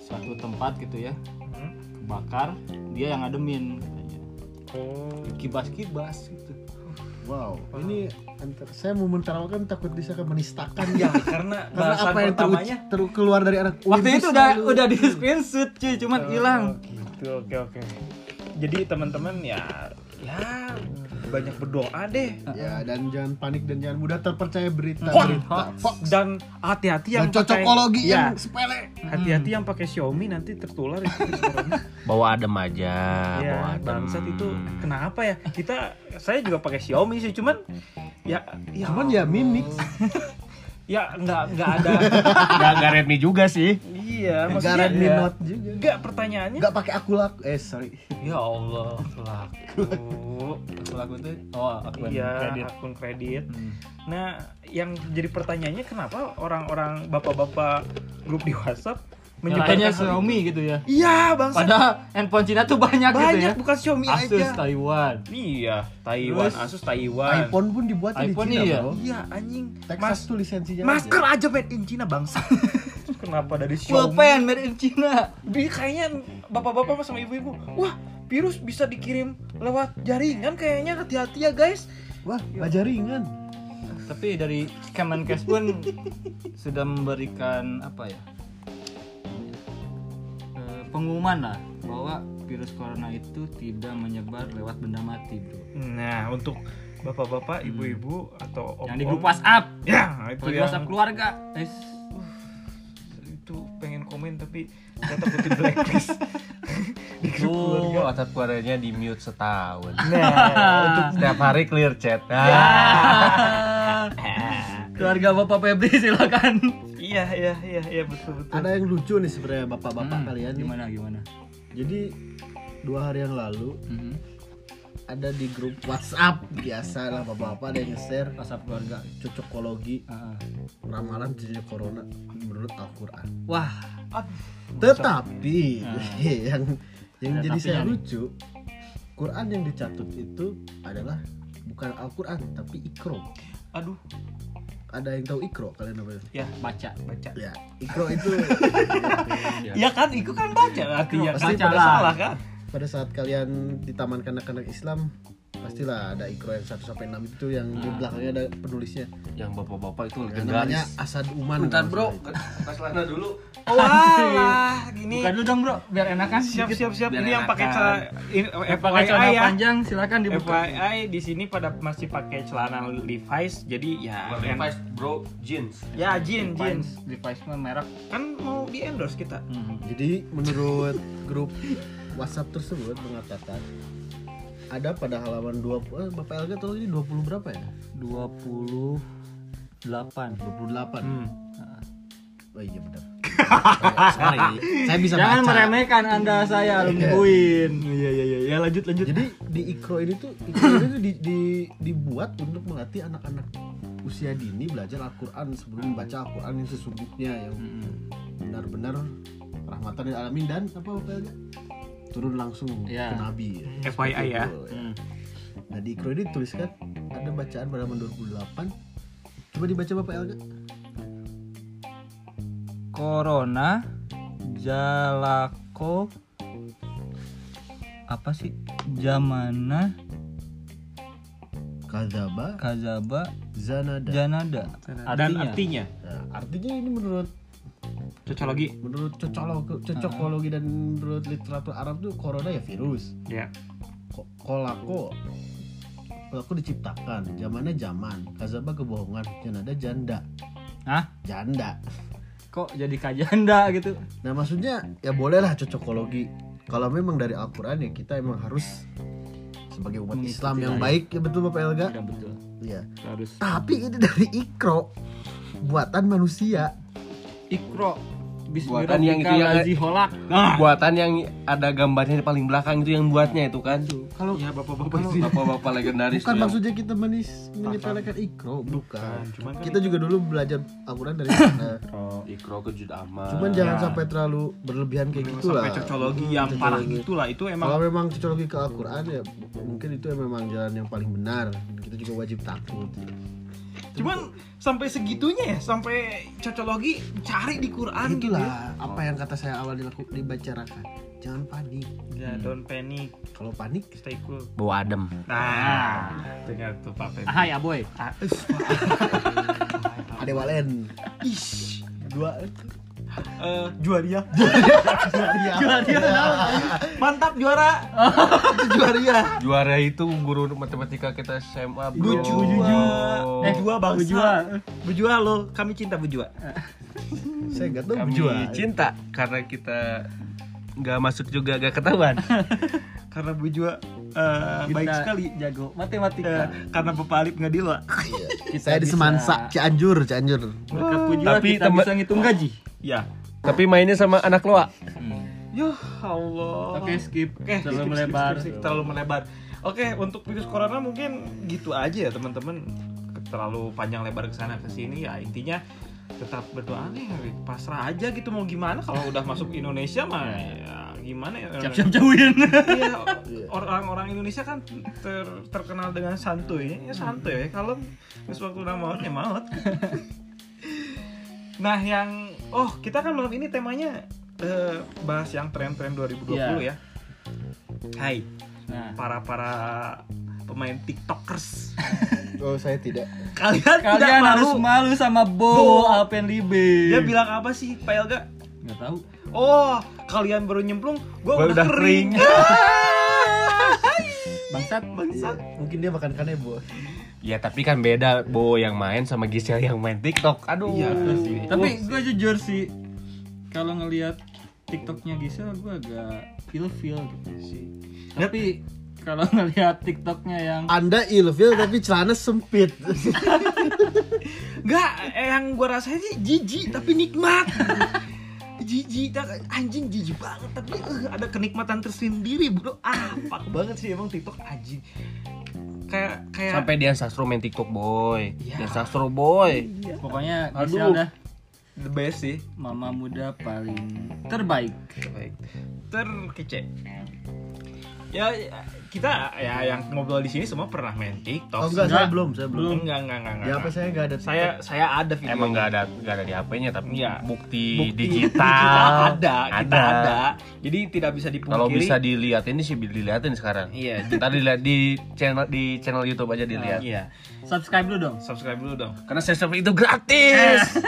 Speaker 2: suatu tempat gitu ya
Speaker 1: Hmm.
Speaker 2: kebakar dia yang ngademin katanya
Speaker 1: Oh.
Speaker 2: kibas-kibas gitu
Speaker 3: Wow, ini antar- saya mau menteramakan takut bisa akan menistakan
Speaker 1: ya karena
Speaker 3: karena
Speaker 1: bahasan
Speaker 3: apa yang
Speaker 1: pertamanya
Speaker 3: terucap teru keluar dari anak
Speaker 2: Waktu
Speaker 3: Wih,
Speaker 2: itu
Speaker 3: bisa
Speaker 2: udah
Speaker 3: lu.
Speaker 2: udah di screenshot cuy, cuman hilang.
Speaker 1: Oh, gitu oke oke jadi teman-teman ya ya banyak berdoa deh
Speaker 3: Ya, dan jangan panik dan jangan mudah terpercaya berita
Speaker 1: Hoax,
Speaker 3: berita.
Speaker 1: hoax. dan hati-hati yang
Speaker 3: Yang cocokologi
Speaker 1: pakai- ya,
Speaker 3: yang Hmm. sepele.
Speaker 1: hati-hati yang pakai Xiaomi nanti tertular itu virus corona.
Speaker 4: Bawa adem aja, bawa
Speaker 1: ya
Speaker 4: adem.
Speaker 1: bangsat itu kenapa ya kita saya juga pakai Xiaomi sih cuman ya ya
Speaker 3: Cuman ya mimik.
Speaker 1: ya nggak nggak ada
Speaker 4: Nggak nggak Redmi juga sih.
Speaker 1: iya maksudnya
Speaker 3: Garan
Speaker 1: ya,
Speaker 3: minot juga.
Speaker 1: nggak pertanyaannya
Speaker 3: Gak pakai aku laku. Eh, sorry.
Speaker 1: ya Allah laku
Speaker 2: Aku lakuin tuh. Oh, aku
Speaker 1: iya
Speaker 2: kredit.
Speaker 1: akun kredit
Speaker 2: Hmm.
Speaker 1: Nah, yang jadi pertanyaannya kenapa orang-orang bapak-bapak grup di WhatsApp
Speaker 2: Nyalainnya
Speaker 1: menyebarkan hal-
Speaker 2: Xiaomi gitu ya.
Speaker 1: Iya, bangsa.
Speaker 2: Padahal handphone Cina tuh banyak, gitu ya.
Speaker 1: banyak bukan Xiaomi
Speaker 2: Asus
Speaker 1: aja.
Speaker 2: Taiwan.
Speaker 1: Iya, Taiwan,
Speaker 2: Terus,
Speaker 1: Asus Taiwan.
Speaker 3: iPhone pun dibuatnya di
Speaker 2: iPhone
Speaker 3: Cina,
Speaker 2: iya.
Speaker 3: Bro.
Speaker 1: Iya, anjing.
Speaker 3: Texas
Speaker 1: Mas,
Speaker 3: tuh lisensinya.
Speaker 1: masker aja made in China, bangsa. Terus kenapa dari Xiaomi?
Speaker 2: Pulpen made in China.
Speaker 1: Di kayaknya bapak-bapak sama ibu-ibu, wah, virus bisa dikirim lewat jaringan kayaknya hati-hati ya, guys.
Speaker 3: aja. Wah, baja ringan.
Speaker 2: Tapi dari Kemenkes pun sudah memberikan apa ya? eh, pengumuman lah bahwa virus corona itu tidak menyebar lewat benda mati, Bro.
Speaker 1: Nah, untuk bapak-bapak, ibu-ibu atau om-om
Speaker 2: Hmm. Yang di grup WhatsApp,
Speaker 1: Ya, itu
Speaker 2: grup
Speaker 1: yang
Speaker 2: WhatsApp keluarga. Eh,
Speaker 1: itu pengen komen tapi saya takut di blacklist di grup
Speaker 2: Oh.
Speaker 4: Tuh,
Speaker 1: keluarga.
Speaker 4: WhatsApp Oh, keluarganya di mute setahun.
Speaker 1: Nah,
Speaker 4: Setiap hari clear chat. Ah. Iya.
Speaker 2: keluarga Bapak Febri silakan.
Speaker 1: iya iya iya iya betul betul.
Speaker 3: Ada yang lucu nih sebenarnya bapak-bapak kalian nih.
Speaker 2: Hmm, gimana gimana?
Speaker 3: Jadi dua hari yang lalu
Speaker 2: Mhm.
Speaker 3: ada di grup WhatsApp biasa lah bapak-bapak ada yang nge-share
Speaker 2: WhatsApp keluarga.
Speaker 3: cocokologi
Speaker 2: Ah, ah.
Speaker 3: ramalan jadinya corona menurut Al-Qur'an.
Speaker 2: Wah, Hmm.
Speaker 1: Aduh,
Speaker 3: Tetapi yang
Speaker 2: Ada
Speaker 3: yang jadi saya
Speaker 2: tapinya nih.
Speaker 3: lucu Quran yang dicatut itu adalah bukan Al-Qur'an tapi Iqra.
Speaker 1: aduh
Speaker 3: Ada yang tahu Iqra kalian apa?
Speaker 2: Iya. baca.
Speaker 1: baca.
Speaker 3: Ya, Iqra itu
Speaker 1: Ya kan, itu kan baca artinya kan
Speaker 3: Pasti
Speaker 1: tidak
Speaker 2: Iya, baca lah.
Speaker 1: salah kan.
Speaker 3: pada saat kalian di taman kanak-kanak Islam pastilah ada Iqra yang 1 sampai 6 itu yang di belakangnya ada penulisnya.
Speaker 4: Yang bapak-bapak itu
Speaker 3: Ya, namanya Asad Uman.
Speaker 4: Bentar bro,
Speaker 3: kalau nggak salah itu.
Speaker 4: pas lana dulu.
Speaker 2: Oh,
Speaker 1: Walah, gini.
Speaker 2: Buka dulu dong, Bro, biar enakan.
Speaker 1: Siap siap siap
Speaker 4: Biar
Speaker 1: ini yang
Speaker 4: enakan.
Speaker 1: pakai celana ini,
Speaker 2: Eh, Pakai
Speaker 1: FYI
Speaker 2: celana
Speaker 1: ya.
Speaker 2: panjang silakan dibuka.
Speaker 1: FYI di sini pada masih pakai celana Levi's jadi ya en-
Speaker 4: bro jeans.
Speaker 1: ya jeans jeans
Speaker 2: Jeans, device mah merek. Mm-hmm.
Speaker 1: kan mau di endorse kita
Speaker 3: Jadi menurut grup WhatsApp tersebut mengatakan ada pada halaman 20 eh, Bapak Elga tahu ini 20 berapa ya?
Speaker 2: 28.
Speaker 3: 28.
Speaker 1: Hmm.
Speaker 3: Oh iya benar. Sorry, saya bisa
Speaker 2: Jangan
Speaker 3: baca.
Speaker 2: meremehkan Anda saya alumni UIN. Iya iya iya, ya lanjut lanjut.
Speaker 3: Jadi di Ikro ini tuh Ikro ini tuh di- di- dibuat untuk melatih anak-anak usia dini belajar Al-Qur'an sebelum membaca Al-Qur'an yang sesungguhnya yang benar-benar rahmatan lil alamin dan apa Bapak Elga? Turun langsung
Speaker 2: Iya.
Speaker 3: ke nabi. ya.
Speaker 1: FYI ya.
Speaker 3: Betul,
Speaker 2: Hmm.
Speaker 3: Nah di Ikro ini dituliskan ada bacaan pada halaman 28 Coba dibaca Bapak Elga
Speaker 2: Corona Jalako apa sih Jamana
Speaker 3: Kazaba
Speaker 2: Kazaba
Speaker 3: Zanada
Speaker 2: Janada
Speaker 1: Dan
Speaker 2: Artinya?
Speaker 1: artinya
Speaker 3: nah, Artinya ini menurut
Speaker 1: cocologi
Speaker 3: menurut cocokologi, cocokologi dan menurut literatur Arab tuh Corona ya virus
Speaker 1: ya
Speaker 3: Ko- Kolako Kolako diciptakan Zamannya zaman Kazaba kebohongan Janada janda
Speaker 2: Hah?
Speaker 3: Janda
Speaker 2: kok jadi kajanda gitu
Speaker 3: Nah maksudnya ya bolehlah cocokologi Kalau memang dari Al-Quran ya kita emang harus Sebagai umat
Speaker 2: Mengikuti
Speaker 3: Islam yang
Speaker 2: lah ya.
Speaker 3: baik Ya betul Bapak Elga
Speaker 2: udah betul
Speaker 3: Iya
Speaker 2: harus
Speaker 3: Tapi ini dari ikro buatan manusia.
Speaker 2: ikro
Speaker 4: Buatan yang itu yang-
Speaker 2: Bismillahirrahmanirrahim.
Speaker 4: Buatan yang ada gambarnya di paling belakang itu yang buatnya itu kan.
Speaker 3: Kalau
Speaker 1: ya bapak-bapak sih
Speaker 4: Bapak-bapak legendaris.
Speaker 3: bukan
Speaker 4: tuh yang-
Speaker 3: maksudnya kita menis menyepelekan ikro, bukan.
Speaker 1: cuman kan
Speaker 3: Kita juga dulu belajar Al-Quran dari sana.
Speaker 4: Oh, Ikro kejut aman.
Speaker 3: Cuman jangan sampai terlalu berlebihan kayak gitulah.
Speaker 1: sampai cocologi yang
Speaker 3: Cocologi.
Speaker 1: parah gitulah itu
Speaker 3: Kalau
Speaker 1: emang
Speaker 3: memang cocok ke Al-Quran ya mungkin itu memang jalan yang paling benar. Kita juga wajib takut.
Speaker 1: Cuman sampai segitunya ya, sampai cocologi cari di Quran gitu ya.
Speaker 3: Itulah apa yang kata saya awal dilaku, dibicarakan. Jangan panik.
Speaker 1: Ya, don't panic,
Speaker 3: Kalau panik
Speaker 1: stay cool.
Speaker 4: bau adem
Speaker 1: Nah, dengar tuh Pak Febri.
Speaker 2: Ah ya boy.
Speaker 1: Ah,
Speaker 3: ada walen. Ish, dua
Speaker 1: eh, juaria.
Speaker 3: juara dia.
Speaker 1: Mantap juara.
Speaker 3: Juara dia.
Speaker 4: juara itu guru matematika kita SMA bro
Speaker 1: Bujua.
Speaker 4: Eh,
Speaker 1: Bujua bangsa. Bujua. Bujua lo, kami cinta Bujua.
Speaker 3: Saya enggak tahu
Speaker 4: kami
Speaker 3: juara.
Speaker 4: cinta karena kita nggak masuk juga gak ketahuan
Speaker 1: Karena Bujua eh, baik sekali. Eh,
Speaker 2: jago matematika.
Speaker 1: karena Bapak Alip nggak dilua.
Speaker 3: Saya di Semansa, Cianjur, Cianjur.
Speaker 2: Berkat pujian
Speaker 4: Tapi
Speaker 2: kita
Speaker 4: temen-
Speaker 2: bisa ngitung gaji.
Speaker 1: ya.
Speaker 4: tapi mainnya sama anak loa
Speaker 1: Ya Allah.
Speaker 2: Oke, skip.
Speaker 1: Oke, skip,
Speaker 2: Terlalu
Speaker 1: skip,
Speaker 2: melebar.
Speaker 1: skip, skip, terlalu melebar. Oke, untuk virus corona mungkin gitu aja ya teman-teman. Terlalu panjang lebar ke sana ke sini ya intinya tetap berdoa nih pasrah aja gitu mau gimana kalau udah masuk Indonesia mah ya gimana ya
Speaker 2: Siap-siap jauhin.
Speaker 1: Iya, orang-orang Indonesia kan ter- terkenal dengan santuy ya santuy ya kalau sesuatu nama maut ya maut nah yang oh kita kan malam ini temanya eh, bahas yang tren-tren 2020 ya Hai
Speaker 2: Nah,
Speaker 1: para para pemain tiktokers
Speaker 3: Oh, saya tidak.
Speaker 1: kalian, tidak
Speaker 2: kalian harus
Speaker 1: malu
Speaker 2: malu sama
Speaker 1: Bo.
Speaker 2: Bo, Alpenlibe.
Speaker 1: dia bilang apa sih Pak Elga
Speaker 2: nggak tahu.
Speaker 1: oh kalian baru nyemplung gue
Speaker 4: Gua
Speaker 1: udah,
Speaker 4: udah
Speaker 1: kering,
Speaker 2: Bangsat.
Speaker 1: Bangsat.
Speaker 3: Mungkin dia makan kanebo.
Speaker 4: ya tapi kan beda bo yang main sama Gisel yang main TikTok aduh
Speaker 1: Iya, pasti.
Speaker 2: Tapi gue jujur sih, kalau ngelihat TikToknya Gisel, gue agak feel feel gitu sih. Tapi kalau ngelihat TikToknya yang
Speaker 3: Anda ilfil tapi celana sempit.
Speaker 1: Enggak, eh, yang gue rasain sih jijik tapi nikmat. jijik, tak- anjing jijik banget tapi eh, ada kenikmatan tersendiri bro. Ah, fuck banget sih emang TikTok anjing. Kayak kayak
Speaker 4: Ya. sampai Dian Sastro main TikTok boy
Speaker 1: Iya.
Speaker 4: Dian Sastro boy
Speaker 2: pokoknya
Speaker 4: Aduh.
Speaker 2: Gisel dah
Speaker 1: the best sih.
Speaker 2: mama muda paling terbaik.
Speaker 1: Terbaik. Terkece. Ya ya, kita ya yang ngobrol di sini semua pernah main TikTok.
Speaker 3: Oh enggak, saya belum, saya belum.
Speaker 1: Belum enggak enggak enggak. enggak.
Speaker 3: Ya apa saya enggak ada.
Speaker 1: Saya saya ada video.
Speaker 4: emang nggak ada nggak ada di HP-nya tapi
Speaker 1: Iya.
Speaker 4: Iya. bukti,
Speaker 1: Bukti digital
Speaker 4: digital
Speaker 1: ada, kita ada. Jadi tidak bisa dipungkiri.
Speaker 4: Kalau bisa dilihatin sih dilihatin sekarang.
Speaker 1: Iya.
Speaker 4: Ntar dilihat di channel di channel YouTube aja dilihat.
Speaker 1: Iya.
Speaker 2: Subscribe dulu dong.
Speaker 1: Subscribe dulu dong.
Speaker 4: Karena sensor itu gratis.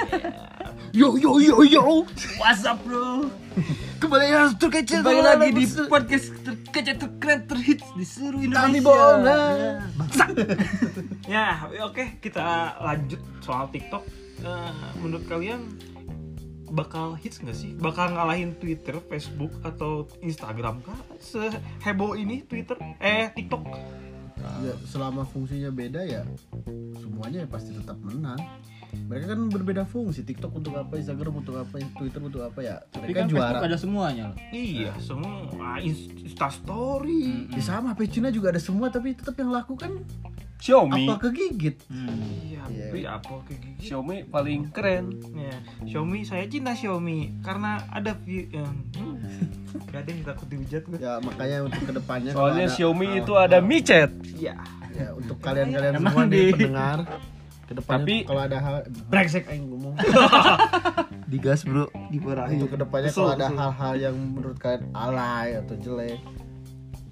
Speaker 3: Yo yo yo yo.
Speaker 2: What's up bro?
Speaker 3: Kembali lagi terkecil.
Speaker 2: Kembali lagi di podcast terkece terkeren terhits di seluruh Indonesia.
Speaker 3: Kami bohong
Speaker 2: Ya.
Speaker 3: lah.
Speaker 1: Ya, oke kita lanjut soal TikTok. Eh, menurut kalian bakal hits nggak sih? Bakal ngalahin Twitter, Facebook atau Instagram kah? Seheboh ini Twitter, eh TikTok.
Speaker 3: Ya, selama fungsinya beda ya semuanya ya pasti tetap menang. Mereka kan berbeda fungsi. TikTok untuk apa, Instagram untuk apa, Twitter untuk apa ya.
Speaker 2: Tapi
Speaker 3: Mereka
Speaker 2: kan
Speaker 3: juara.
Speaker 2: Facebook ada semuanya loh.
Speaker 1: Iya, semua ah, Insta Story.
Speaker 3: Ya sama, HP Cina juga ada semua tapi tetap yang laku kan
Speaker 4: Xiaomi.
Speaker 3: apa kegigit.
Speaker 2: Hmm.
Speaker 1: Iya,
Speaker 3: Iya.
Speaker 1: beli apa kayak gigi.
Speaker 4: Xiaomi paling keren.
Speaker 1: Ya, Xiaomi saya cinta Xiaomi karena ada vi- em, hmm. Gak ada yang takut dihujat gue.
Speaker 3: Ya makanya untuk kedepannya kalau
Speaker 4: Soalnya
Speaker 3: ada-
Speaker 4: Xiaomi
Speaker 3: kalau-
Speaker 4: itu ada Mi Chat.
Speaker 1: Iya.
Speaker 3: ya, untuk kalian-kalian
Speaker 2: Emang
Speaker 3: semua nih
Speaker 2: di-
Speaker 3: pendengar kedepannya
Speaker 4: Tapi-
Speaker 3: kalau ada hal brengsek aing ngomong
Speaker 4: Digas, Bro.
Speaker 2: Iya.
Speaker 3: untuk kedepannya kalau ada hal-hal yang menurut kalian alay atau jelek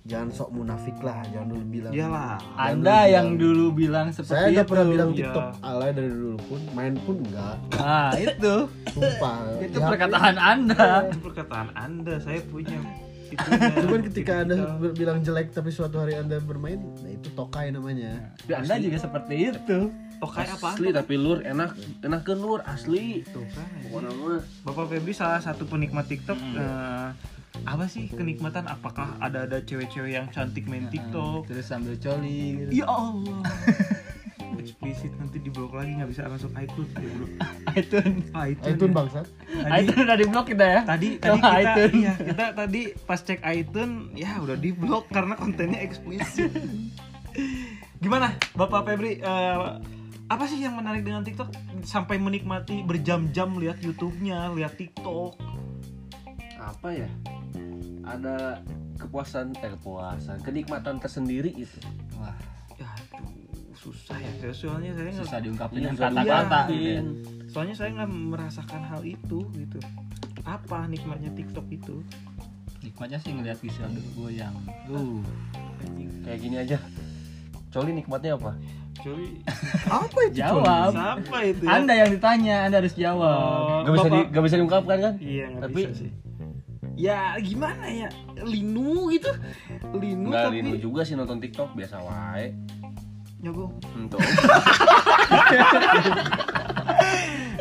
Speaker 3: jangan sok munafik lah jangan dulu bilang
Speaker 1: Iyalah.
Speaker 3: Jangan
Speaker 2: Anda
Speaker 3: dulu
Speaker 2: yang
Speaker 3: bilang.
Speaker 2: dulu bilang seperti
Speaker 3: saya
Speaker 2: Iya, itu.
Speaker 3: nggak pernah bilang
Speaker 1: Iya.
Speaker 3: TikTok alay dari dulu pun main pun enggak
Speaker 2: Ah, itu.
Speaker 3: sumpah
Speaker 2: itu
Speaker 3: Ya,
Speaker 2: perkataan Anda.
Speaker 1: Itu perkataan Anda, saya punya.
Speaker 3: cuman ketika anda
Speaker 2: Iya.
Speaker 3: ber- bilang jelek tapi suatu hari anda bermain nah itu tokai namanya
Speaker 2: Anda juga seperti itu.
Speaker 1: Tokai Oh, apa?
Speaker 4: Asli tapi lur enak, enak ke lur asli.
Speaker 1: Tuh kan.
Speaker 4: Pokoknya mah.
Speaker 1: Bapak Febri salah satu penikmat TikTok. eh, apa sih kenikmatan? Apakah ada ada cewek-cewek yang cantik main TikTok?
Speaker 2: Terus sambil coli gitu.
Speaker 1: Ya Allah. Eksplisit nanti diblok lagi nggak bisa masuk iCloud ya bro.
Speaker 2: iTunes.
Speaker 1: Ah, itu.
Speaker 2: Iya.
Speaker 3: itu bangsa
Speaker 1: Tadi,
Speaker 2: iTunes Ah, udah di-blok kita ya.
Speaker 1: tadi tadi
Speaker 2: Sama
Speaker 1: kita
Speaker 2: iTunes.
Speaker 1: iya, kita tadi pas cek iTunes ya udah diblok karena kontennya eksplisit. Gimana Bapak Febri? eh, apa sih yang menarik dengan TikTok sampai menikmati berjam-jam lihat YouTube-nya, lihat TikTok?
Speaker 4: Apa ya? Ada kepuasan, eh, kepuasan, kenikmatan tersendiri itu.
Speaker 2: Wah,
Speaker 1: Ya, Aduh, susah ya saya- soalnya saya nggak
Speaker 2: susah diungkapin dengan
Speaker 4: Susah
Speaker 2: kata-kata gitu ya.
Speaker 4: diungkapin.
Speaker 1: soalnya saya nggak merasakan hal itu gitu apa nikmatnya TikTok itu
Speaker 2: nikmatnya sih ngeliat visual dulu gue yang uh
Speaker 1: anjing
Speaker 4: Kayak gini aja. Coli nikmatnya apa?
Speaker 1: Coli
Speaker 3: apa itu
Speaker 2: jawab
Speaker 1: siapa itu ya?
Speaker 2: anda yang ditanya anda harus
Speaker 1: Oh,
Speaker 2: jawab
Speaker 4: Gak bisa di,
Speaker 1: Bapak-
Speaker 4: gak bisa diungkapkan kan?
Speaker 1: iya nggak
Speaker 4: Tapi-
Speaker 1: bisa sih ya gimana ya linu gitu linu
Speaker 4: Enggak
Speaker 1: tapi
Speaker 4: rindu juga sih nonton TikTok biasa wae.
Speaker 1: nyogok
Speaker 4: Untuk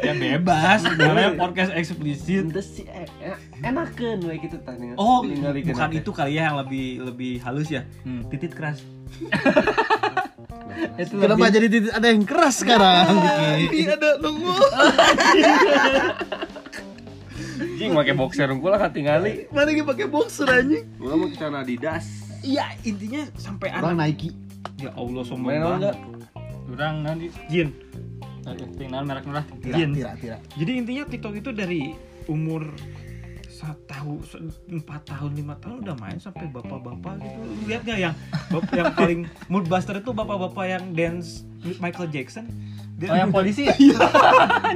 Speaker 2: ya bebas namanya podcast eksplisit
Speaker 4: ente Iya. sih eh, eh, enakeun we gitu tah tinggal-
Speaker 5: Oh,
Speaker 4: tinggal dikeun
Speaker 5: bukan
Speaker 4: teh.
Speaker 5: itu kali ya yang lebih lebih halus ya.
Speaker 1: Hmm.
Speaker 5: Titit keras.
Speaker 2: itu Iya.
Speaker 3: kenapa jadi titik- ada yang keras sekarang Diki?
Speaker 1: ada nunggu
Speaker 4: Jing make boxer unggul lah kan katingali.
Speaker 1: mana dia pakai boxer anjing
Speaker 4: Iya, Gua mau kita Adidas.
Speaker 1: ya intinya sampai anak
Speaker 3: orang Nike
Speaker 5: Ya Allah sombong
Speaker 4: Main naon
Speaker 5: banget.
Speaker 4: enggak?
Speaker 2: kurang nanti
Speaker 1: Jin
Speaker 2: tinggal merek merah
Speaker 3: tira
Speaker 1: Jin.
Speaker 3: tira tira
Speaker 1: jadi intinya TikTok itu dari umur satu tahun se- empat tahun lima tahun udah main sampai bapak-bapak gitu Lu lihat nggak yang bap- yang paling moodbuster itu bapak-bapak yang dance with Michael Jackson Dia-
Speaker 2: oh yang polisi ya?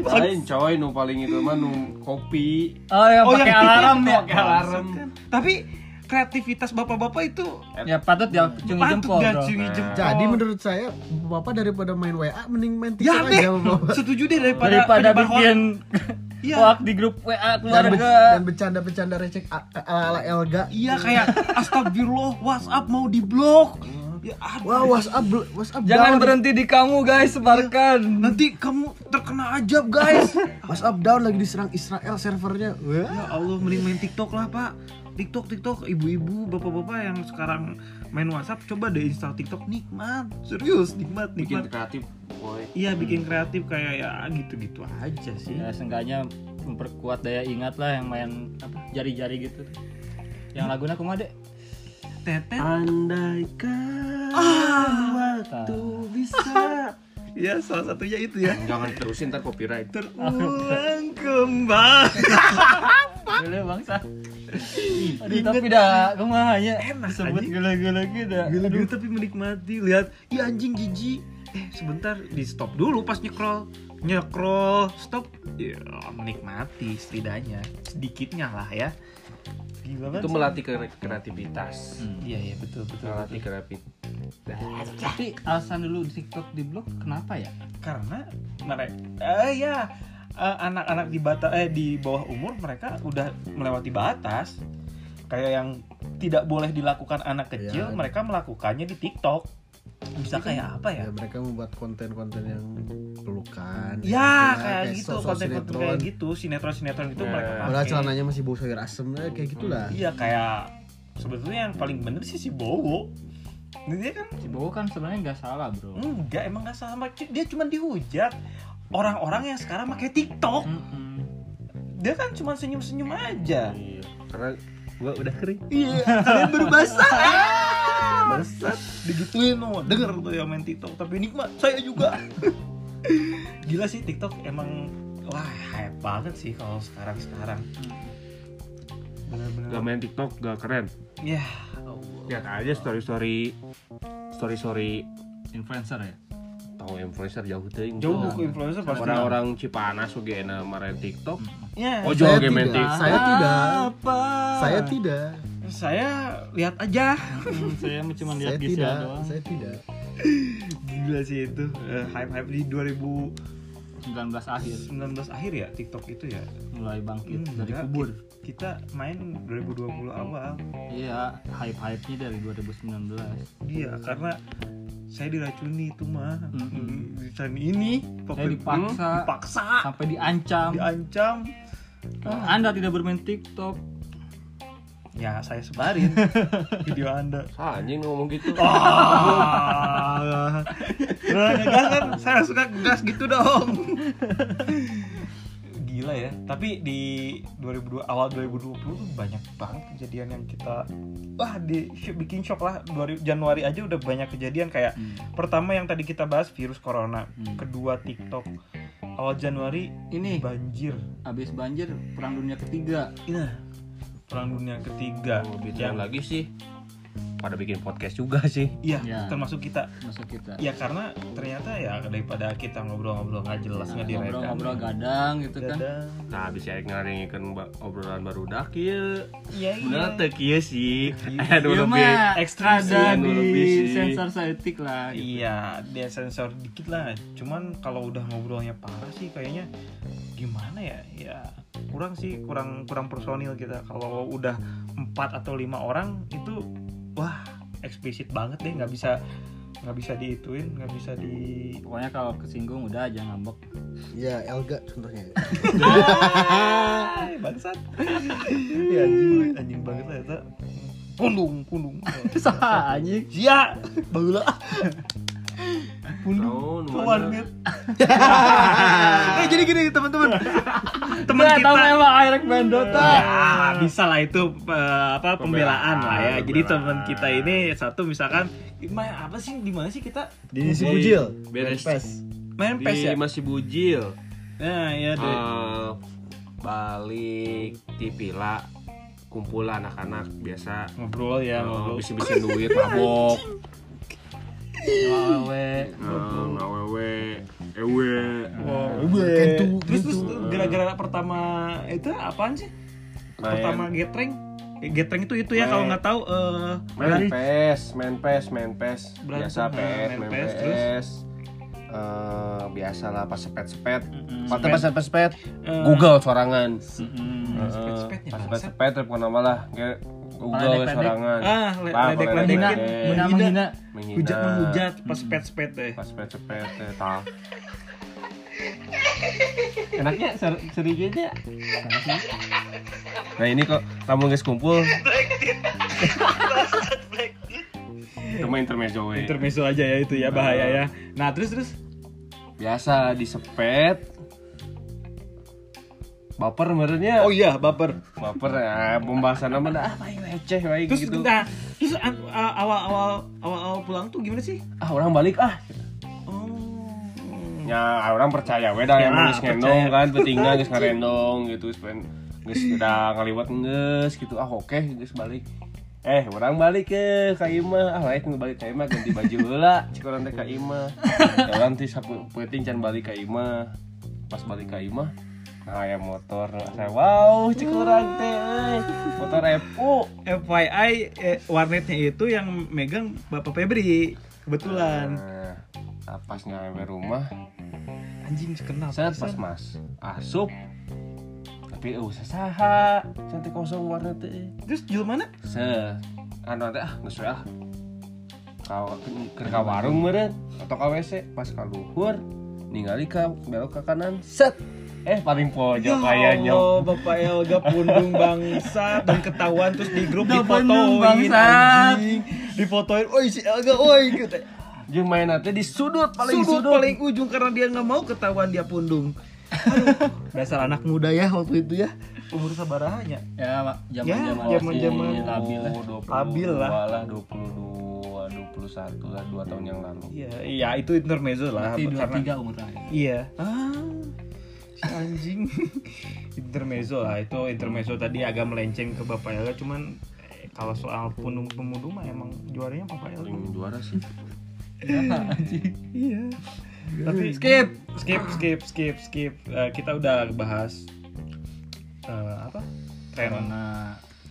Speaker 4: Lain coy nu paling itu mah nu kopi.
Speaker 2: oh yang pakai alarm ya
Speaker 4: Pakai alarm.
Speaker 1: Kan. tapi kreativitas bapak-bapak itu
Speaker 2: ya patut dia cungi
Speaker 1: patut
Speaker 2: jempol bro Nah.
Speaker 1: diacungi jempol
Speaker 3: jadi menurut saya bapak daripada main WA mending main
Speaker 1: ya
Speaker 3: TikTok
Speaker 1: deh
Speaker 3: aja bapak
Speaker 1: setuju deh daripada
Speaker 2: daripada
Speaker 1: penyebar hoax.
Speaker 2: bikin
Speaker 1: Iya.
Speaker 2: hoax di grup WA
Speaker 3: dan, be-
Speaker 2: keluarga
Speaker 3: dan bercanda-bercanda recek a- ala ala Elga
Speaker 1: iya kayak astagfirullah WhatsApp mau diblok ya aduh
Speaker 3: wah WhatsApp bl- WhatsApp
Speaker 2: jangan
Speaker 3: down
Speaker 2: berhenti di kamu guys sebarkan
Speaker 1: nanti kamu terkena ajab guys
Speaker 3: WhatsApp down lagi diserang Israel servernya wah
Speaker 1: Ya Allah, mending main TikTok lah pak TikTok, TikTok, ibu-ibu, bapak-bapak yang sekarang main WhatsApp Coba deh install TikTok, nikmat Serius, nikmat,
Speaker 4: Bikin
Speaker 1: nikmat
Speaker 4: kreatif boy.
Speaker 1: Iya, bikin kreatif kayak ya gitu-gitu aja sih
Speaker 2: ya seenggaknya memperkuat daya ingat lah yang main apa jari-jari gitu yang lagunya kumaha dek
Speaker 1: Tetet
Speaker 4: Andaikan waktu bisa.
Speaker 1: Ya, salah satunya itu ya
Speaker 4: Jangan terusin ntar copyright.
Speaker 1: Terulang kembali
Speaker 2: Ah, Gila bangsa. Aduh tapi dah kumaha ya? nya
Speaker 1: Eh, Enak,
Speaker 2: disebut
Speaker 1: anjing.
Speaker 2: gula-gula gitu.
Speaker 1: Aduh, tapi menikmati Lihat, ya anjing jijik Eh, sebentar, di stop dulu pas nyekrol Nyekrol, stop Ya, menikmati setidaknya Sedikitnya lah ya Gila banget
Speaker 4: Itu melatih kre- kreativitas.
Speaker 1: Iya iya betul betul.
Speaker 4: Melatih kreativitas.
Speaker 2: Tapi alasan dulu di TikTok di blog kenapa ya?
Speaker 1: Karena mereka eh ya eh, anak-anak di bata eh di bawah umur mereka udah melewati batas. Kayak yang tidak boleh dilakukan anak kecil,
Speaker 3: Iya.
Speaker 1: mereka melakukannya di TikTok. Bisa kayak apa ya?
Speaker 3: ya mereka membuat konten-konten yang
Speaker 1: Ya
Speaker 3: pelukan gitu lah,
Speaker 1: kayak gitu
Speaker 3: sosok
Speaker 1: konten-konten
Speaker 3: sinetron.
Speaker 1: kayak gitu sinetron-sinetron itu
Speaker 4: Ya.
Speaker 1: mereka
Speaker 3: padahal
Speaker 1: pakai.
Speaker 3: celananya masih bau sayur asem lah kayak gitulah
Speaker 1: Iya kayak sebetulnya yang paling bener sih si Bowo. Dia kan
Speaker 2: Cibowo kan sebenarnya nggak salah bro.
Speaker 1: enggak emang nggak sama dia cuma dihujat orang-orang yang sekarang pakai TikTok.
Speaker 2: Mm-mm.
Speaker 1: dia kan cuma senyum-senyum aja
Speaker 4: Iya. Karena gua udah kering.
Speaker 1: iya kalian baru basah Ah, basah digituin loh denger tuh yang main tiktok tapi nikmat saya juga gila sih tiktok emang wah hype banget sih kalau sekarang sekarang
Speaker 4: Gak
Speaker 1: bener-bener
Speaker 4: main TikTok gak keren.
Speaker 1: ya
Speaker 4: Lihat aja story story story story
Speaker 2: Influencer ya.
Speaker 4: tahu influencer jauh teuing.
Speaker 1: jauh buku influencer pasti
Speaker 4: Iya. Orang-orang Cipanas oge na marahin TikTok.
Speaker 1: ya
Speaker 4: Ojo
Speaker 3: saya
Speaker 4: oge main
Speaker 3: tidak
Speaker 2: Iya.
Speaker 4: TikTok.
Speaker 3: saya tidak
Speaker 2: Apa?
Speaker 3: saya tidak
Speaker 1: saya lihat aja
Speaker 2: Mm, saya cuma
Speaker 3: saya
Speaker 2: lihat
Speaker 3: tidak
Speaker 2: Gisela doang.
Speaker 3: saya tidak
Speaker 1: gila sih itu hype hype di 2019
Speaker 2: 19 akhir
Speaker 1: akhir ya tiktok itu ya
Speaker 2: mulai bangkit
Speaker 1: Hmm,
Speaker 2: dari
Speaker 1: enggak.
Speaker 2: kubur.
Speaker 1: kita main 2020 awal
Speaker 2: Iya, hype-hype-nya dari 2019.
Speaker 1: Iya, karena saya diracuni itu mah
Speaker 2: Mm-mm.
Speaker 1: di sana ini
Speaker 2: Saya
Speaker 1: pokoknya-
Speaker 2: dipaksa
Speaker 1: Hmm, dipaksa
Speaker 2: sampai diancam.
Speaker 1: diancam
Speaker 2: Ah, Anda tidak bermain TikTok.
Speaker 1: ya saya sebarin video anda
Speaker 4: Ah, anjing ngomong gitu.
Speaker 1: Oh. ah nah, ngegas kan saya suka gas gitu dong gila ya tapi di 2002 awal 2020 tuh banyak banget kejadian yang kita wah di bikin shock lah Duari- Januari aja udah banyak kejadian kayak
Speaker 2: Hmm.
Speaker 1: pertama yang tadi kita bahas virus corona
Speaker 2: Hmm.
Speaker 1: kedua TikTok awal Januari
Speaker 2: Ini
Speaker 1: banjir
Speaker 2: habis banjir perang dunia ketiga Oh,
Speaker 1: nah perang dunia ketiga
Speaker 4: Yang
Speaker 1: yang
Speaker 4: lagi sih pada bikin podcast juga sih.
Speaker 1: Iya,
Speaker 2: Ya.
Speaker 1: termasuk kita.
Speaker 2: masuk kita
Speaker 1: Ya karena ternyata ya daripada kita ngobrol-ngobrol nggak jelas
Speaker 2: Nah,
Speaker 1: nggak kan? direkam.
Speaker 2: ngobrol-ngobrol gadang gitu kan
Speaker 1: Dadang.
Speaker 4: Nah, habis ya ngaringikeun ba- obrolan baru dak ieu.
Speaker 1: Iya iya.
Speaker 4: Bener teu kieu sih.
Speaker 2: Ya,
Speaker 4: Aduh lebih.
Speaker 2: mah
Speaker 5: ekstrim sih,
Speaker 2: ada
Speaker 5: anu lebih
Speaker 2: di
Speaker 5: sih.
Speaker 2: sensor saetik lah gitu.
Speaker 1: Iya, dia sensor dikit lah. Cuman kalau udah ngobrolnya parah sih kayaknya gimana ya? Ya kurang sih, kurang kurang personil kita. Kalau udah empat atau lima orang itu wah eksplisit banget deh, nggak bisa nggak bisa diituin, nggak bisa di
Speaker 2: pokoknya kalau kesinggung udah aja ngambek
Speaker 3: ya Elga contohnya
Speaker 1: Hai, bangsat. Iya anjing, anjing banget lah itu. Pundung, pundung.
Speaker 2: sah anjing
Speaker 1: Sia,
Speaker 3: bagulah
Speaker 4: Tahun
Speaker 1: keluar
Speaker 4: mana?
Speaker 1: Mir.
Speaker 2: eh jadi gini teman-teman
Speaker 1: Teman
Speaker 2: Nah,
Speaker 1: kita.
Speaker 2: tahu emang Irek Mendota
Speaker 1: Ya, bisa lah itu eh, apa pembelaan,
Speaker 4: Pembelaan,
Speaker 1: lah ya. Jadi
Speaker 4: pembelaan.
Speaker 1: teman kita ini satu misalkan main apa sih di mana sih kita
Speaker 3: di si
Speaker 4: Di-
Speaker 3: Pujil
Speaker 4: beres.
Speaker 3: Pes.
Speaker 1: main
Speaker 4: Di
Speaker 1: PES ya?
Speaker 4: masih bujil.
Speaker 1: Nah, ya deh.
Speaker 4: Eh, balik tipila kumpul anak-anak biasa
Speaker 1: ngobrol ya, ngobrol.
Speaker 4: bisa bisa Oh, duit mabok
Speaker 2: Wawe
Speaker 4: eh, ngawewe ewe
Speaker 3: Kentu,
Speaker 1: Terus terus
Speaker 3: kentu.
Speaker 1: gara-gara pertama itu apaan sih?
Speaker 4: Main.
Speaker 1: Pertama getreng. Eh, Getreng itu itu ya
Speaker 4: Main.
Speaker 1: kalau nggak tahu eh
Speaker 4: main
Speaker 1: lari.
Speaker 4: pes main pes main pes
Speaker 1: Berantem,
Speaker 4: biasa
Speaker 1: nah, main
Speaker 4: pes main
Speaker 1: pes,
Speaker 4: pes,
Speaker 1: terus?
Speaker 4: Eh, biasalah pas sepet sepet
Speaker 2: Mm-mm.
Speaker 4: pas pas sepet sepet
Speaker 1: Eh,
Speaker 4: google sorangan
Speaker 1: Hmm.
Speaker 2: Mm-mm.
Speaker 4: Eh,
Speaker 1: sepet-sepetnya,
Speaker 4: pas
Speaker 1: Bang.
Speaker 4: sepet sepet telepon nama lah Ge- google
Speaker 2: Ledek-ledek.
Speaker 4: sorangan
Speaker 1: Ah, le-
Speaker 4: Bang,
Speaker 1: ledek-ledekin.
Speaker 2: menghina
Speaker 4: ledek-ledek.
Speaker 2: menghina menghina
Speaker 4: Menghina.
Speaker 1: Hujat menghujat, pas
Speaker 4: Hmm.
Speaker 1: pet-pet deh.
Speaker 4: pas sepet sepet eh, tah.
Speaker 2: enaknya ser- seriusnya
Speaker 4: Nah ini kok tamu guys kumpul. Itu mah intermezzo we.
Speaker 1: Intermezzo aja ya itu ya bahaya ya. Nah, terus terus
Speaker 4: Biasa disepet. Baper merenya.
Speaker 1: Oh iya, baper.
Speaker 4: Baper ya pembahasan nama dah ah paling receh wae
Speaker 1: Terus
Speaker 4: gitu.
Speaker 1: nah, terus an- a- awal-awal awal-awal pulang tuh gimana sih?
Speaker 4: Ah orang balik ah.
Speaker 1: Oh.
Speaker 4: Ya orang percaya we dah
Speaker 1: Ya,
Speaker 4: yang geus
Speaker 1: percaya.
Speaker 4: ngendong kan pentingnya geus ngarendong gitu geus pen geus udah ngaliwat geus gitu ah oke geus balik. Eh, orang balik ke Kaima, ah lain nu balik Kaima ganti baju heula, cikoran teh Kaima. Jalan teh sapu penting can balik Kaima. Pas balik Kaima, nah ya motor saya wow cikoran teh euy. eh, motor epo
Speaker 1: FYI eh, warnetnya itu yang megang Bapak Febri kebetulan.
Speaker 4: nah, nah, pas nyampe rumah
Speaker 1: Anjing kenal.
Speaker 4: Set pas mas asup tapi eh saha cantik kosong warna teh
Speaker 1: Terus jual mana?
Speaker 4: se anu teh ah geus we ah Ka- ke, ke warung meureun atau ka WC pas ka luhur ningali ka belok ke kanan set eh paling pojok aya nyok
Speaker 1: Ya Allah, Bapak Elga pundung bangsa dan ketahuan terus di grup
Speaker 2: Udah
Speaker 1: difotoin
Speaker 2: pundung bangsa.
Speaker 1: anjing. Difotoin, "Oi si Elga, oi." Gitu.
Speaker 4: jeung mainna teh di sudut paling
Speaker 1: Sudut
Speaker 4: sudut,
Speaker 1: paling ujung karena dia nggak mau ketahuan dia pundung. Aduh, dasar anak muda ya waktu itu ya. Umur sabaranya.
Speaker 2: ya Pak, zaman-zaman
Speaker 1: Ya,
Speaker 2: masih
Speaker 1: zaman-zaman.
Speaker 2: labil
Speaker 1: Oh,
Speaker 2: lah.
Speaker 4: 22
Speaker 1: Labil lah.
Speaker 4: ya. lah 22 21 lah 2 tahun yang lalu
Speaker 1: Iya, iya itu intermezzo lah
Speaker 2: Berarti dua
Speaker 1: karena
Speaker 2: tiga umurnya
Speaker 1: iya. Ah, si anjing. intermezzo lah itu intermezzo tadi agak melenceng ke Bapak Ella cuman eh, kalau soal pundung pemundung mah emang juaranya Bapak Ella.
Speaker 4: paling juara sih
Speaker 1: Iya. Tapi skip, skip, skip, skip, skip. Eh, kita udah bahas eh, apa? Tren
Speaker 2: karena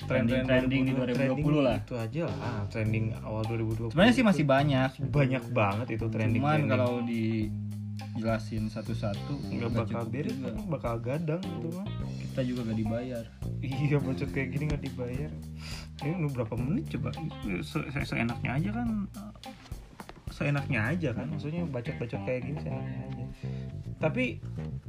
Speaker 1: tren
Speaker 2: trending trending di 2020 lah
Speaker 1: Itu aja lah, Ah, trending awal 2020.
Speaker 2: sebenarnya sih masih banyak
Speaker 1: banyak banget itu trending.
Speaker 2: cuman
Speaker 1: trending.
Speaker 2: kalau dijelasin satu-satu
Speaker 1: nggak bakal beres,
Speaker 2: juga.
Speaker 1: kan? bakal gadang itu mah.
Speaker 2: kita juga gak dibayar
Speaker 1: Iya, bocot kayak gini nggak dibayar. Ini nu berapa menit coba? Iya, Se- se- Seenaknya aja kan. Seenaknya aja kan, maksudnya bacot-bacot kayak gini seenaknya aja. Tapi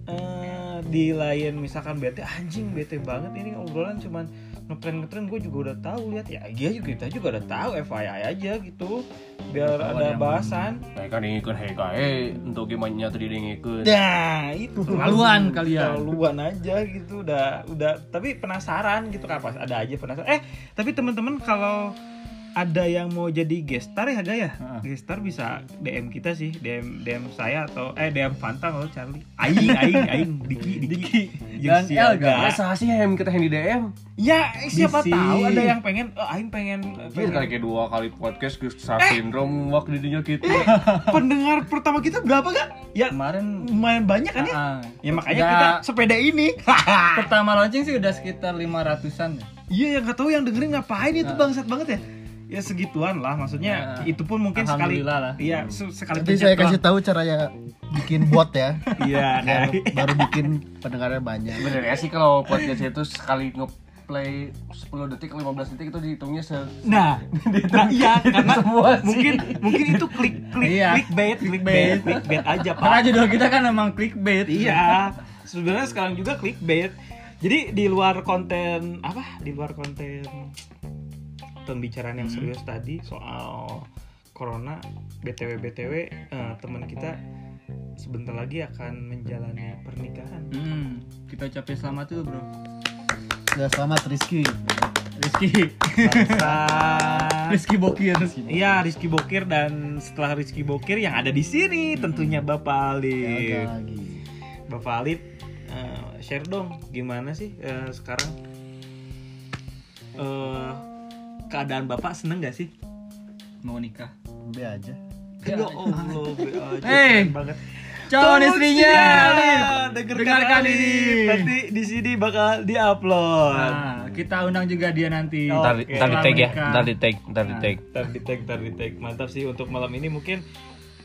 Speaker 1: eh, di lain misalkan bete anjing bete banget ini obrolan cuman ngetren ngetren gue juga udah tahu lihat ya dia juga kita juga udah tahu FYI aja gitu biar
Speaker 2: Tahu
Speaker 1: ada
Speaker 2: ada yang-
Speaker 1: bahasan.
Speaker 4: mereka ngikut heka eh untuk gimana tadi dia ngikut
Speaker 1: Nah itu
Speaker 2: Keterlaluan kalian.
Speaker 1: Keterlaluan aja gitu udah udah tapi penasaran gitu kan pas ada aja penasaran. Eh tapi teman-teman kalau ada yang mau jadi gestar ya Ga ya?
Speaker 2: Heeh.
Speaker 1: Gestar bisa DM kita sih, DM DM saya atau eh DM Fanta kalau Charlie. Aing aing aing Diki Diki.
Speaker 4: Dan
Speaker 1: si
Speaker 4: El
Speaker 1: Elga.
Speaker 4: gak sah sih hem kita yang di DM.
Speaker 1: Ya, siapa
Speaker 4: Bisi.
Speaker 1: tahu ada yang pengen eh, aing pengen,
Speaker 4: Anjir
Speaker 1: pengen-
Speaker 4: kali Iya, kayak dua kali podcast Gus
Speaker 1: Eh.
Speaker 4: Safindrom waktu di dunia kita.
Speaker 1: Iya. pendengar pertama kita berapa kan? Ya
Speaker 2: Kemarin
Speaker 1: lumayan banyak kan ya?
Speaker 2: ah,
Speaker 1: Ya makanya
Speaker 2: Ya.
Speaker 1: kita sepeda ini.
Speaker 2: pertama launching sih udah sekitar 500-an ya.
Speaker 1: Iya yang nggak tahu yang dengerin ngapain itu bangsat banget ya. Ya segituan lah maksudnya
Speaker 2: Nah,
Speaker 1: itu pun mungkin sekali
Speaker 2: Alhamdulillah lah. Hmm.
Speaker 1: Iya, se- sekali
Speaker 3: Nanti
Speaker 1: pencet
Speaker 3: saya
Speaker 1: doang.
Speaker 3: kasih tahu caranya bikin bot ya.
Speaker 1: Iya,
Speaker 3: Biar
Speaker 1: nah.
Speaker 3: baru bikin pendengarnya banyak.
Speaker 4: Bener ya sih kalau podcast itu sekali ngeplay 10 detik 15 detik itu dihitungnya se
Speaker 1: Nah, nah iya karena
Speaker 4: semua sih.
Speaker 1: mungkin mungkin itu klik klik
Speaker 2: Iya.
Speaker 1: clickbait, clickbait, clickbait aja Pak.
Speaker 2: Karena judul kita kan emang clickbait.
Speaker 1: Iya. Sebenarnya sekarang juga clickbait. Jadi di luar konten apa? Di luar konten pembicaraan yang serius tadi soal corona btw btw eh, teman kita sebentar lagi akan menjalani pernikahan.
Speaker 2: Hmm, kita ucapin selamat dulu, Bro.
Speaker 3: Ya selamat Rizky.
Speaker 2: Rizky.
Speaker 1: Bangsa.
Speaker 2: Rizky Bokir.
Speaker 1: Iya, Rizky Bokir dan setelah Rizky Bokir yang ada di sini tentunya Bapak Alif.
Speaker 3: Ya, lagi.
Speaker 1: Bapak Alif, eh, share dong gimana sih eh, sekarang eh, keadaan Bapak seneng gak sih?
Speaker 2: Mau nikah.
Speaker 3: Be aja.
Speaker 1: Ya Allah, be aja,
Speaker 2: Hey,
Speaker 1: keren banget.
Speaker 2: Calon istrinya. Alif.
Speaker 1: dengarkan,
Speaker 2: Dengarkan
Speaker 1: ini.
Speaker 2: ini.
Speaker 1: Nanti di sini bakal diupload.
Speaker 2: Nah, kita undang juga dia nanti.
Speaker 1: Oh.
Speaker 5: Ntar,
Speaker 1: Oke.
Speaker 5: ntar di tag ya,
Speaker 2: Setelah
Speaker 5: ntar di tag, ntar di
Speaker 2: Nah.
Speaker 5: tag.
Speaker 1: Ntar di tag, ntar di tag. Mantap sih untuk malam ini mungkin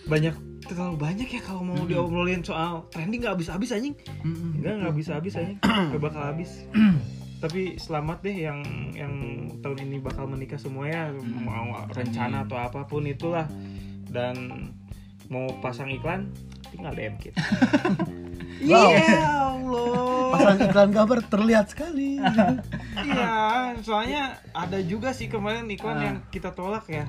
Speaker 1: banyak terlalu banyak ya kalau mau diobrolin soal trending nggak habis-habis anjing.
Speaker 2: Mm-mm.
Speaker 1: Enggak nggak bisa habis aja, nggak bakal habis. Tapi selamat deh yang yang tahun ini bakal menikah semua ya, mau rencana atau apapun itulah. Dan mau pasang iklan tinggal DM kita. Iya Allah.
Speaker 3: Pasang iklan gambar terlihat sekali.
Speaker 1: Iya, soalnya ada juga sih kemarin iklan yang kita tolak ya.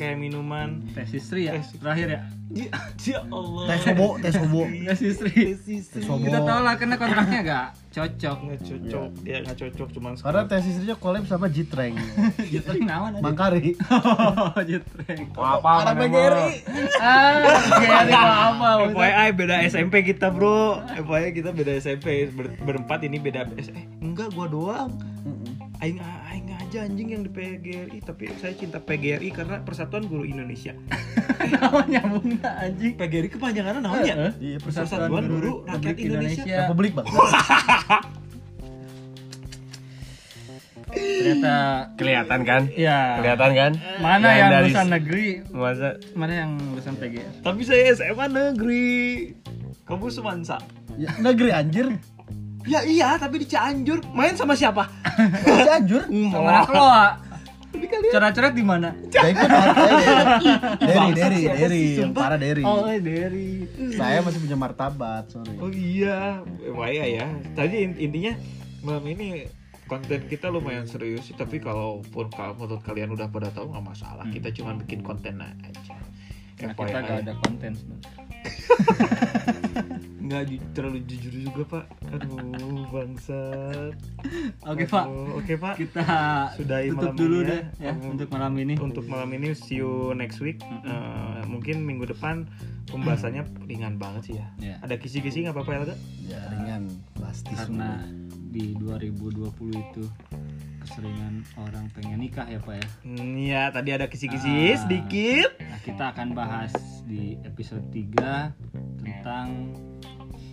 Speaker 1: Kayak minuman.
Speaker 2: Tes istri ya,
Speaker 1: Tes-
Speaker 2: terakhir ya.
Speaker 1: Ya, ya Allah.
Speaker 3: tes obo, tes Oh. obo.
Speaker 2: Tes istri.
Speaker 1: Sisi.
Speaker 3: Sobo.
Speaker 2: Kita tahu lah karena kontraknya gak cocok.
Speaker 1: Nggak cocok, dia nggak cocok cuman
Speaker 3: Karena tes istrinya collab sama Jitreng.
Speaker 2: Jetreng nawan aja.
Speaker 3: Mangkari.
Speaker 2: Oh, jetreng.
Speaker 4: apa apa
Speaker 2: Ah, kayak ada apa?
Speaker 1: FYI beda SMP kita bro FYI kita beda SMP Ber- berempat ini beda S- eh, enggak gua doang aing ah, aing aja anjing yang di PGRI tapi saya cinta PGRI karena Persatuan Guru Indonesia
Speaker 2: Namanya bunga anjing.
Speaker 1: PGRI kepanjangannya namanya
Speaker 3: Iya,
Speaker 1: Persatuan Guru Rakyat
Speaker 2: Republik
Speaker 1: Indonesia.
Speaker 3: Republik bang.
Speaker 2: Ternyata
Speaker 5: Kelihatan kan?
Speaker 2: ya
Speaker 4: Iya.
Speaker 5: Kelihatan kan?
Speaker 2: mana
Speaker 5: Yang
Speaker 2: yang
Speaker 5: dari-
Speaker 2: lulusan negeri,
Speaker 5: Masa
Speaker 2: mana yang lulusan PGR?
Speaker 1: tapi saya SMA negeri kamu semansa
Speaker 3: Ya, negeri anjir.
Speaker 1: ya iya tapi di Cianjur main sama siapa
Speaker 3: Cianjur.
Speaker 2: Sama Nakloa. Coret-coret di mana?
Speaker 3: Ya ikut partai
Speaker 1: Siapa
Speaker 3: Deri, Deri,
Speaker 1: sih,
Speaker 3: Deri, yang
Speaker 1: sumpah?
Speaker 3: parah Deri.
Speaker 1: oh dari
Speaker 3: Saya masih punya martabat, sorry.
Speaker 1: Oh iya, Maya ya. Tadi in- intinya malam ini konten kita lumayan serius sih, tapi kalaupun kalau menurut kalian udah pada tahu nggak masalah. Kita cuma bikin konten aja.
Speaker 2: Nah, Hmm. kita
Speaker 1: FYI.
Speaker 2: gak ada konten sebenarnya.
Speaker 1: Nggak ju- terlalu jujur juga pak. Aduh bangsat.
Speaker 2: Oke, Pak.
Speaker 1: Aduh, Oke pak.
Speaker 2: Kita
Speaker 1: Sudahi
Speaker 2: tutup
Speaker 1: malam
Speaker 2: dulu
Speaker 1: ini ya.
Speaker 2: deh ya
Speaker 1: Kamu-
Speaker 2: untuk malam ini.
Speaker 1: Untuk malam ini see you next week.
Speaker 2: Hmm.
Speaker 1: Eh, mungkin minggu depan pembahasannya ringan banget sih ya.
Speaker 2: Iya.
Speaker 1: Ada kisi-kisi nggak apa-apa Elga?
Speaker 3: Ya ringan, pasti
Speaker 2: Karena di 2020 itu keseringan orang pengen nikah ya, Pak ya.
Speaker 1: Hmm, Iya, tadi ada kisi-kisi
Speaker 2: Ah.
Speaker 1: sedikit.
Speaker 2: Nah, kita akan bahas di episode 3 tentang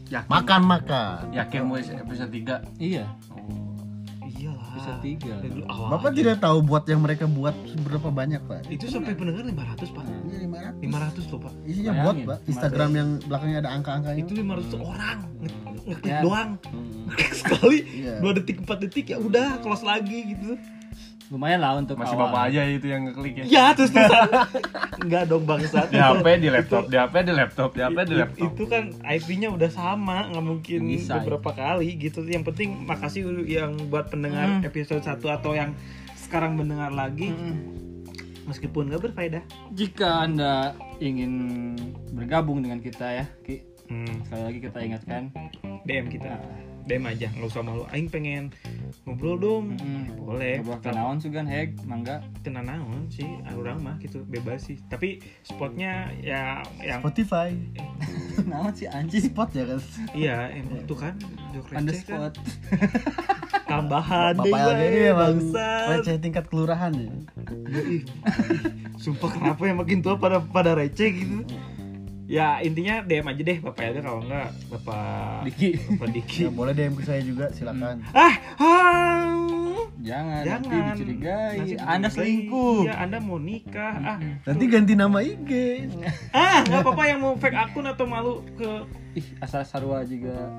Speaker 3: Makan makan.
Speaker 4: Ya, Yakin mau episode 3.
Speaker 2: iya,
Speaker 1: Iyalah.
Speaker 2: episode 3.
Speaker 1: Dari awal aja.
Speaker 3: Bapak tidak tahu buat yang mereka buat berapa banyak pak?
Speaker 1: itu sampai pendengar 500 pak
Speaker 3: Ini 500.
Speaker 1: 500 loh pak
Speaker 3: Isinya
Speaker 2: Bayangin,
Speaker 3: buat pak. Instagram yang belakangnya ada angka-angkanya.
Speaker 1: itu 500 orang Nge- ngeklik
Speaker 2: Ya.
Speaker 1: doang ngeklik sekali
Speaker 3: Iya.
Speaker 1: dua detik empat detik ya udah close lagi gitu
Speaker 2: Lumayan lah untuk
Speaker 4: Masih
Speaker 2: awal.
Speaker 4: bapak aja itu yang ngeklik ya.
Speaker 1: ya terus terusan nggak dong bangsat
Speaker 4: Di HP, di laptop, di HP, di laptop, di HP, ya? di
Speaker 1: Itu-
Speaker 4: laptop.
Speaker 1: itu kan IP-nya udah sama nggak mungkin
Speaker 2: Bisa,
Speaker 1: beberapa kali gitu yang penting makasih yang buat
Speaker 2: Hmm.
Speaker 1: pendengar episode 1 atau yang sekarang mendengar lagi meskipun nggak berfaedah
Speaker 2: Jika Anda ingin bergabung dengan kita ya, Ki.
Speaker 4: Hmm.
Speaker 2: Sekali lagi kita ingatkan,
Speaker 1: DM kita DM aja nggak usah malu Aing pengen ngobrol dong
Speaker 2: Mm-mm.
Speaker 1: boleh
Speaker 2: Hmm. Ngobrol
Speaker 1: Tapi
Speaker 2: kenaon sih kan heg mangga
Speaker 1: kena naon sih
Speaker 2: Hmm.
Speaker 1: orang mah gitu bebas sih tapi spotnya ya yang
Speaker 3: Spotify
Speaker 2: naon sih anjing
Speaker 3: spot ya kan
Speaker 1: iya yang itu kan jok
Speaker 2: on the
Speaker 1: receh kan
Speaker 2: spot
Speaker 1: tambahan deh
Speaker 3: Bapak LD ini
Speaker 1: weh,
Speaker 3: emang
Speaker 1: bangsat.
Speaker 3: receh tingkat kelurahan ya
Speaker 2: iya.
Speaker 1: Sumpah kenapa ya makin tua pada pada receh gitu. Ya intinya DM aja deh Bapak Elda kalau enggak Bapak
Speaker 4: Diki.
Speaker 1: Bapak Diki.
Speaker 2: Iya.
Speaker 3: Ya, boleh DM ke saya juga silakan
Speaker 1: ah, ah,
Speaker 2: jangan, nanti
Speaker 1: jangan.
Speaker 2: dicurigai
Speaker 1: Nanti dicurigai.
Speaker 2: anda selingkuh
Speaker 1: Iya, Anda mau nikah. Ah,
Speaker 3: nanti ganti nama IG
Speaker 1: ah, nggak apa-apa yang mau fake akun atau malu ke
Speaker 2: ih asal sarua juga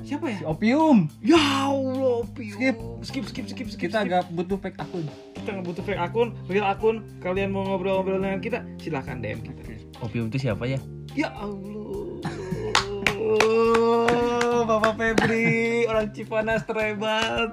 Speaker 1: siapa ya?
Speaker 2: si opium
Speaker 1: Ya Allah, Pio.
Speaker 2: Skip.
Speaker 1: skip, skip, skip, skip.
Speaker 2: kita
Speaker 1: skip.
Speaker 2: agak butuh pack akun
Speaker 1: kita nggak butuh fake akun, real akun. Kalian mau ngobrol-ngobrol dengan kita, silahkan DM kita.
Speaker 5: Opium itu siapa ya?
Speaker 1: Ya Allah. Bapak Febri, orang Cipanas terhebat.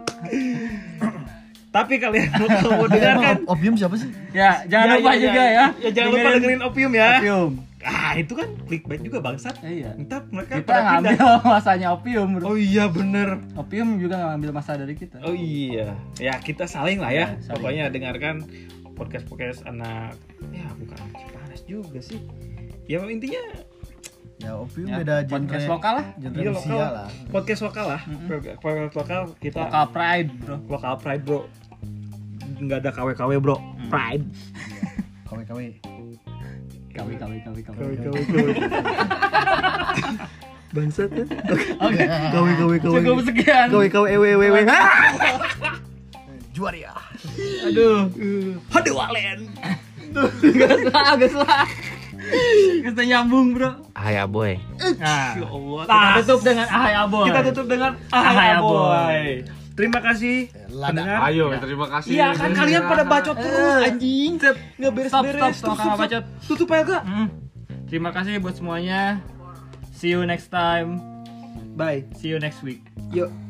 Speaker 1: Tapi kalian kalau mau kan? dengarkan
Speaker 3: Emang Opium siapa sih?
Speaker 2: ya jangan lupa juga ya
Speaker 1: jangan lupa
Speaker 2: Dengerin
Speaker 1: dengerin opium ya.
Speaker 2: opium
Speaker 1: Ah, itu kan clickbait juga bangsat.
Speaker 2: Eh, iya
Speaker 1: Entar mereka
Speaker 2: kita
Speaker 1: pada
Speaker 2: ngambil
Speaker 1: pindah.
Speaker 2: masanya opium bro.
Speaker 1: Oh iya bener.
Speaker 2: opium juga ngambil masa dari kita
Speaker 1: Oh iya. Ya kita saling lah ya.
Speaker 2: Ya, saling.
Speaker 1: Pokoknya dengarkan podcast-podcast anak ya bukan anak Cipanas juga sih. Ya intinya
Speaker 3: Ya Opium
Speaker 2: Ya,
Speaker 3: beda genre
Speaker 2: podcast lokal lah
Speaker 3: genre
Speaker 1: dia
Speaker 3: usia
Speaker 1: lokal
Speaker 3: lah
Speaker 1: podcast lokal lah. Podcast lokal kita
Speaker 2: lokal pride bro
Speaker 1: lokal pride bro nggak ada KW KW bro
Speaker 2: Mm.
Speaker 1: pride
Speaker 3: KW-KW
Speaker 2: kami kami kami kami
Speaker 1: KW bangsat kan
Speaker 2: oke
Speaker 3: KW KW
Speaker 2: cukup sekian
Speaker 3: KW KW ewe ewe Ah! ewe Juara
Speaker 2: aduh
Speaker 1: aduh walen
Speaker 2: gas lah gas lah kita nyambung bro
Speaker 5: Ah ya boy.
Speaker 2: nah
Speaker 1: ya Allah
Speaker 2: kita tutup dengan ya, ahai aboy
Speaker 1: kita tutup dengan
Speaker 2: Ahai
Speaker 1: ah
Speaker 2: Aboy.
Speaker 1: boy terima kasih pendengar.
Speaker 4: Ayo, terima kasih.
Speaker 1: Iya kan kalian pada bacot terus
Speaker 2: Eh.
Speaker 1: anjing nggak beres
Speaker 2: Stop,
Speaker 1: beres
Speaker 2: stop, stop, kakak bacot.
Speaker 1: tutup aja Kak.
Speaker 2: Mm. terima kasih buat semuanya see you next time
Speaker 1: bye
Speaker 2: see you next week
Speaker 1: yuk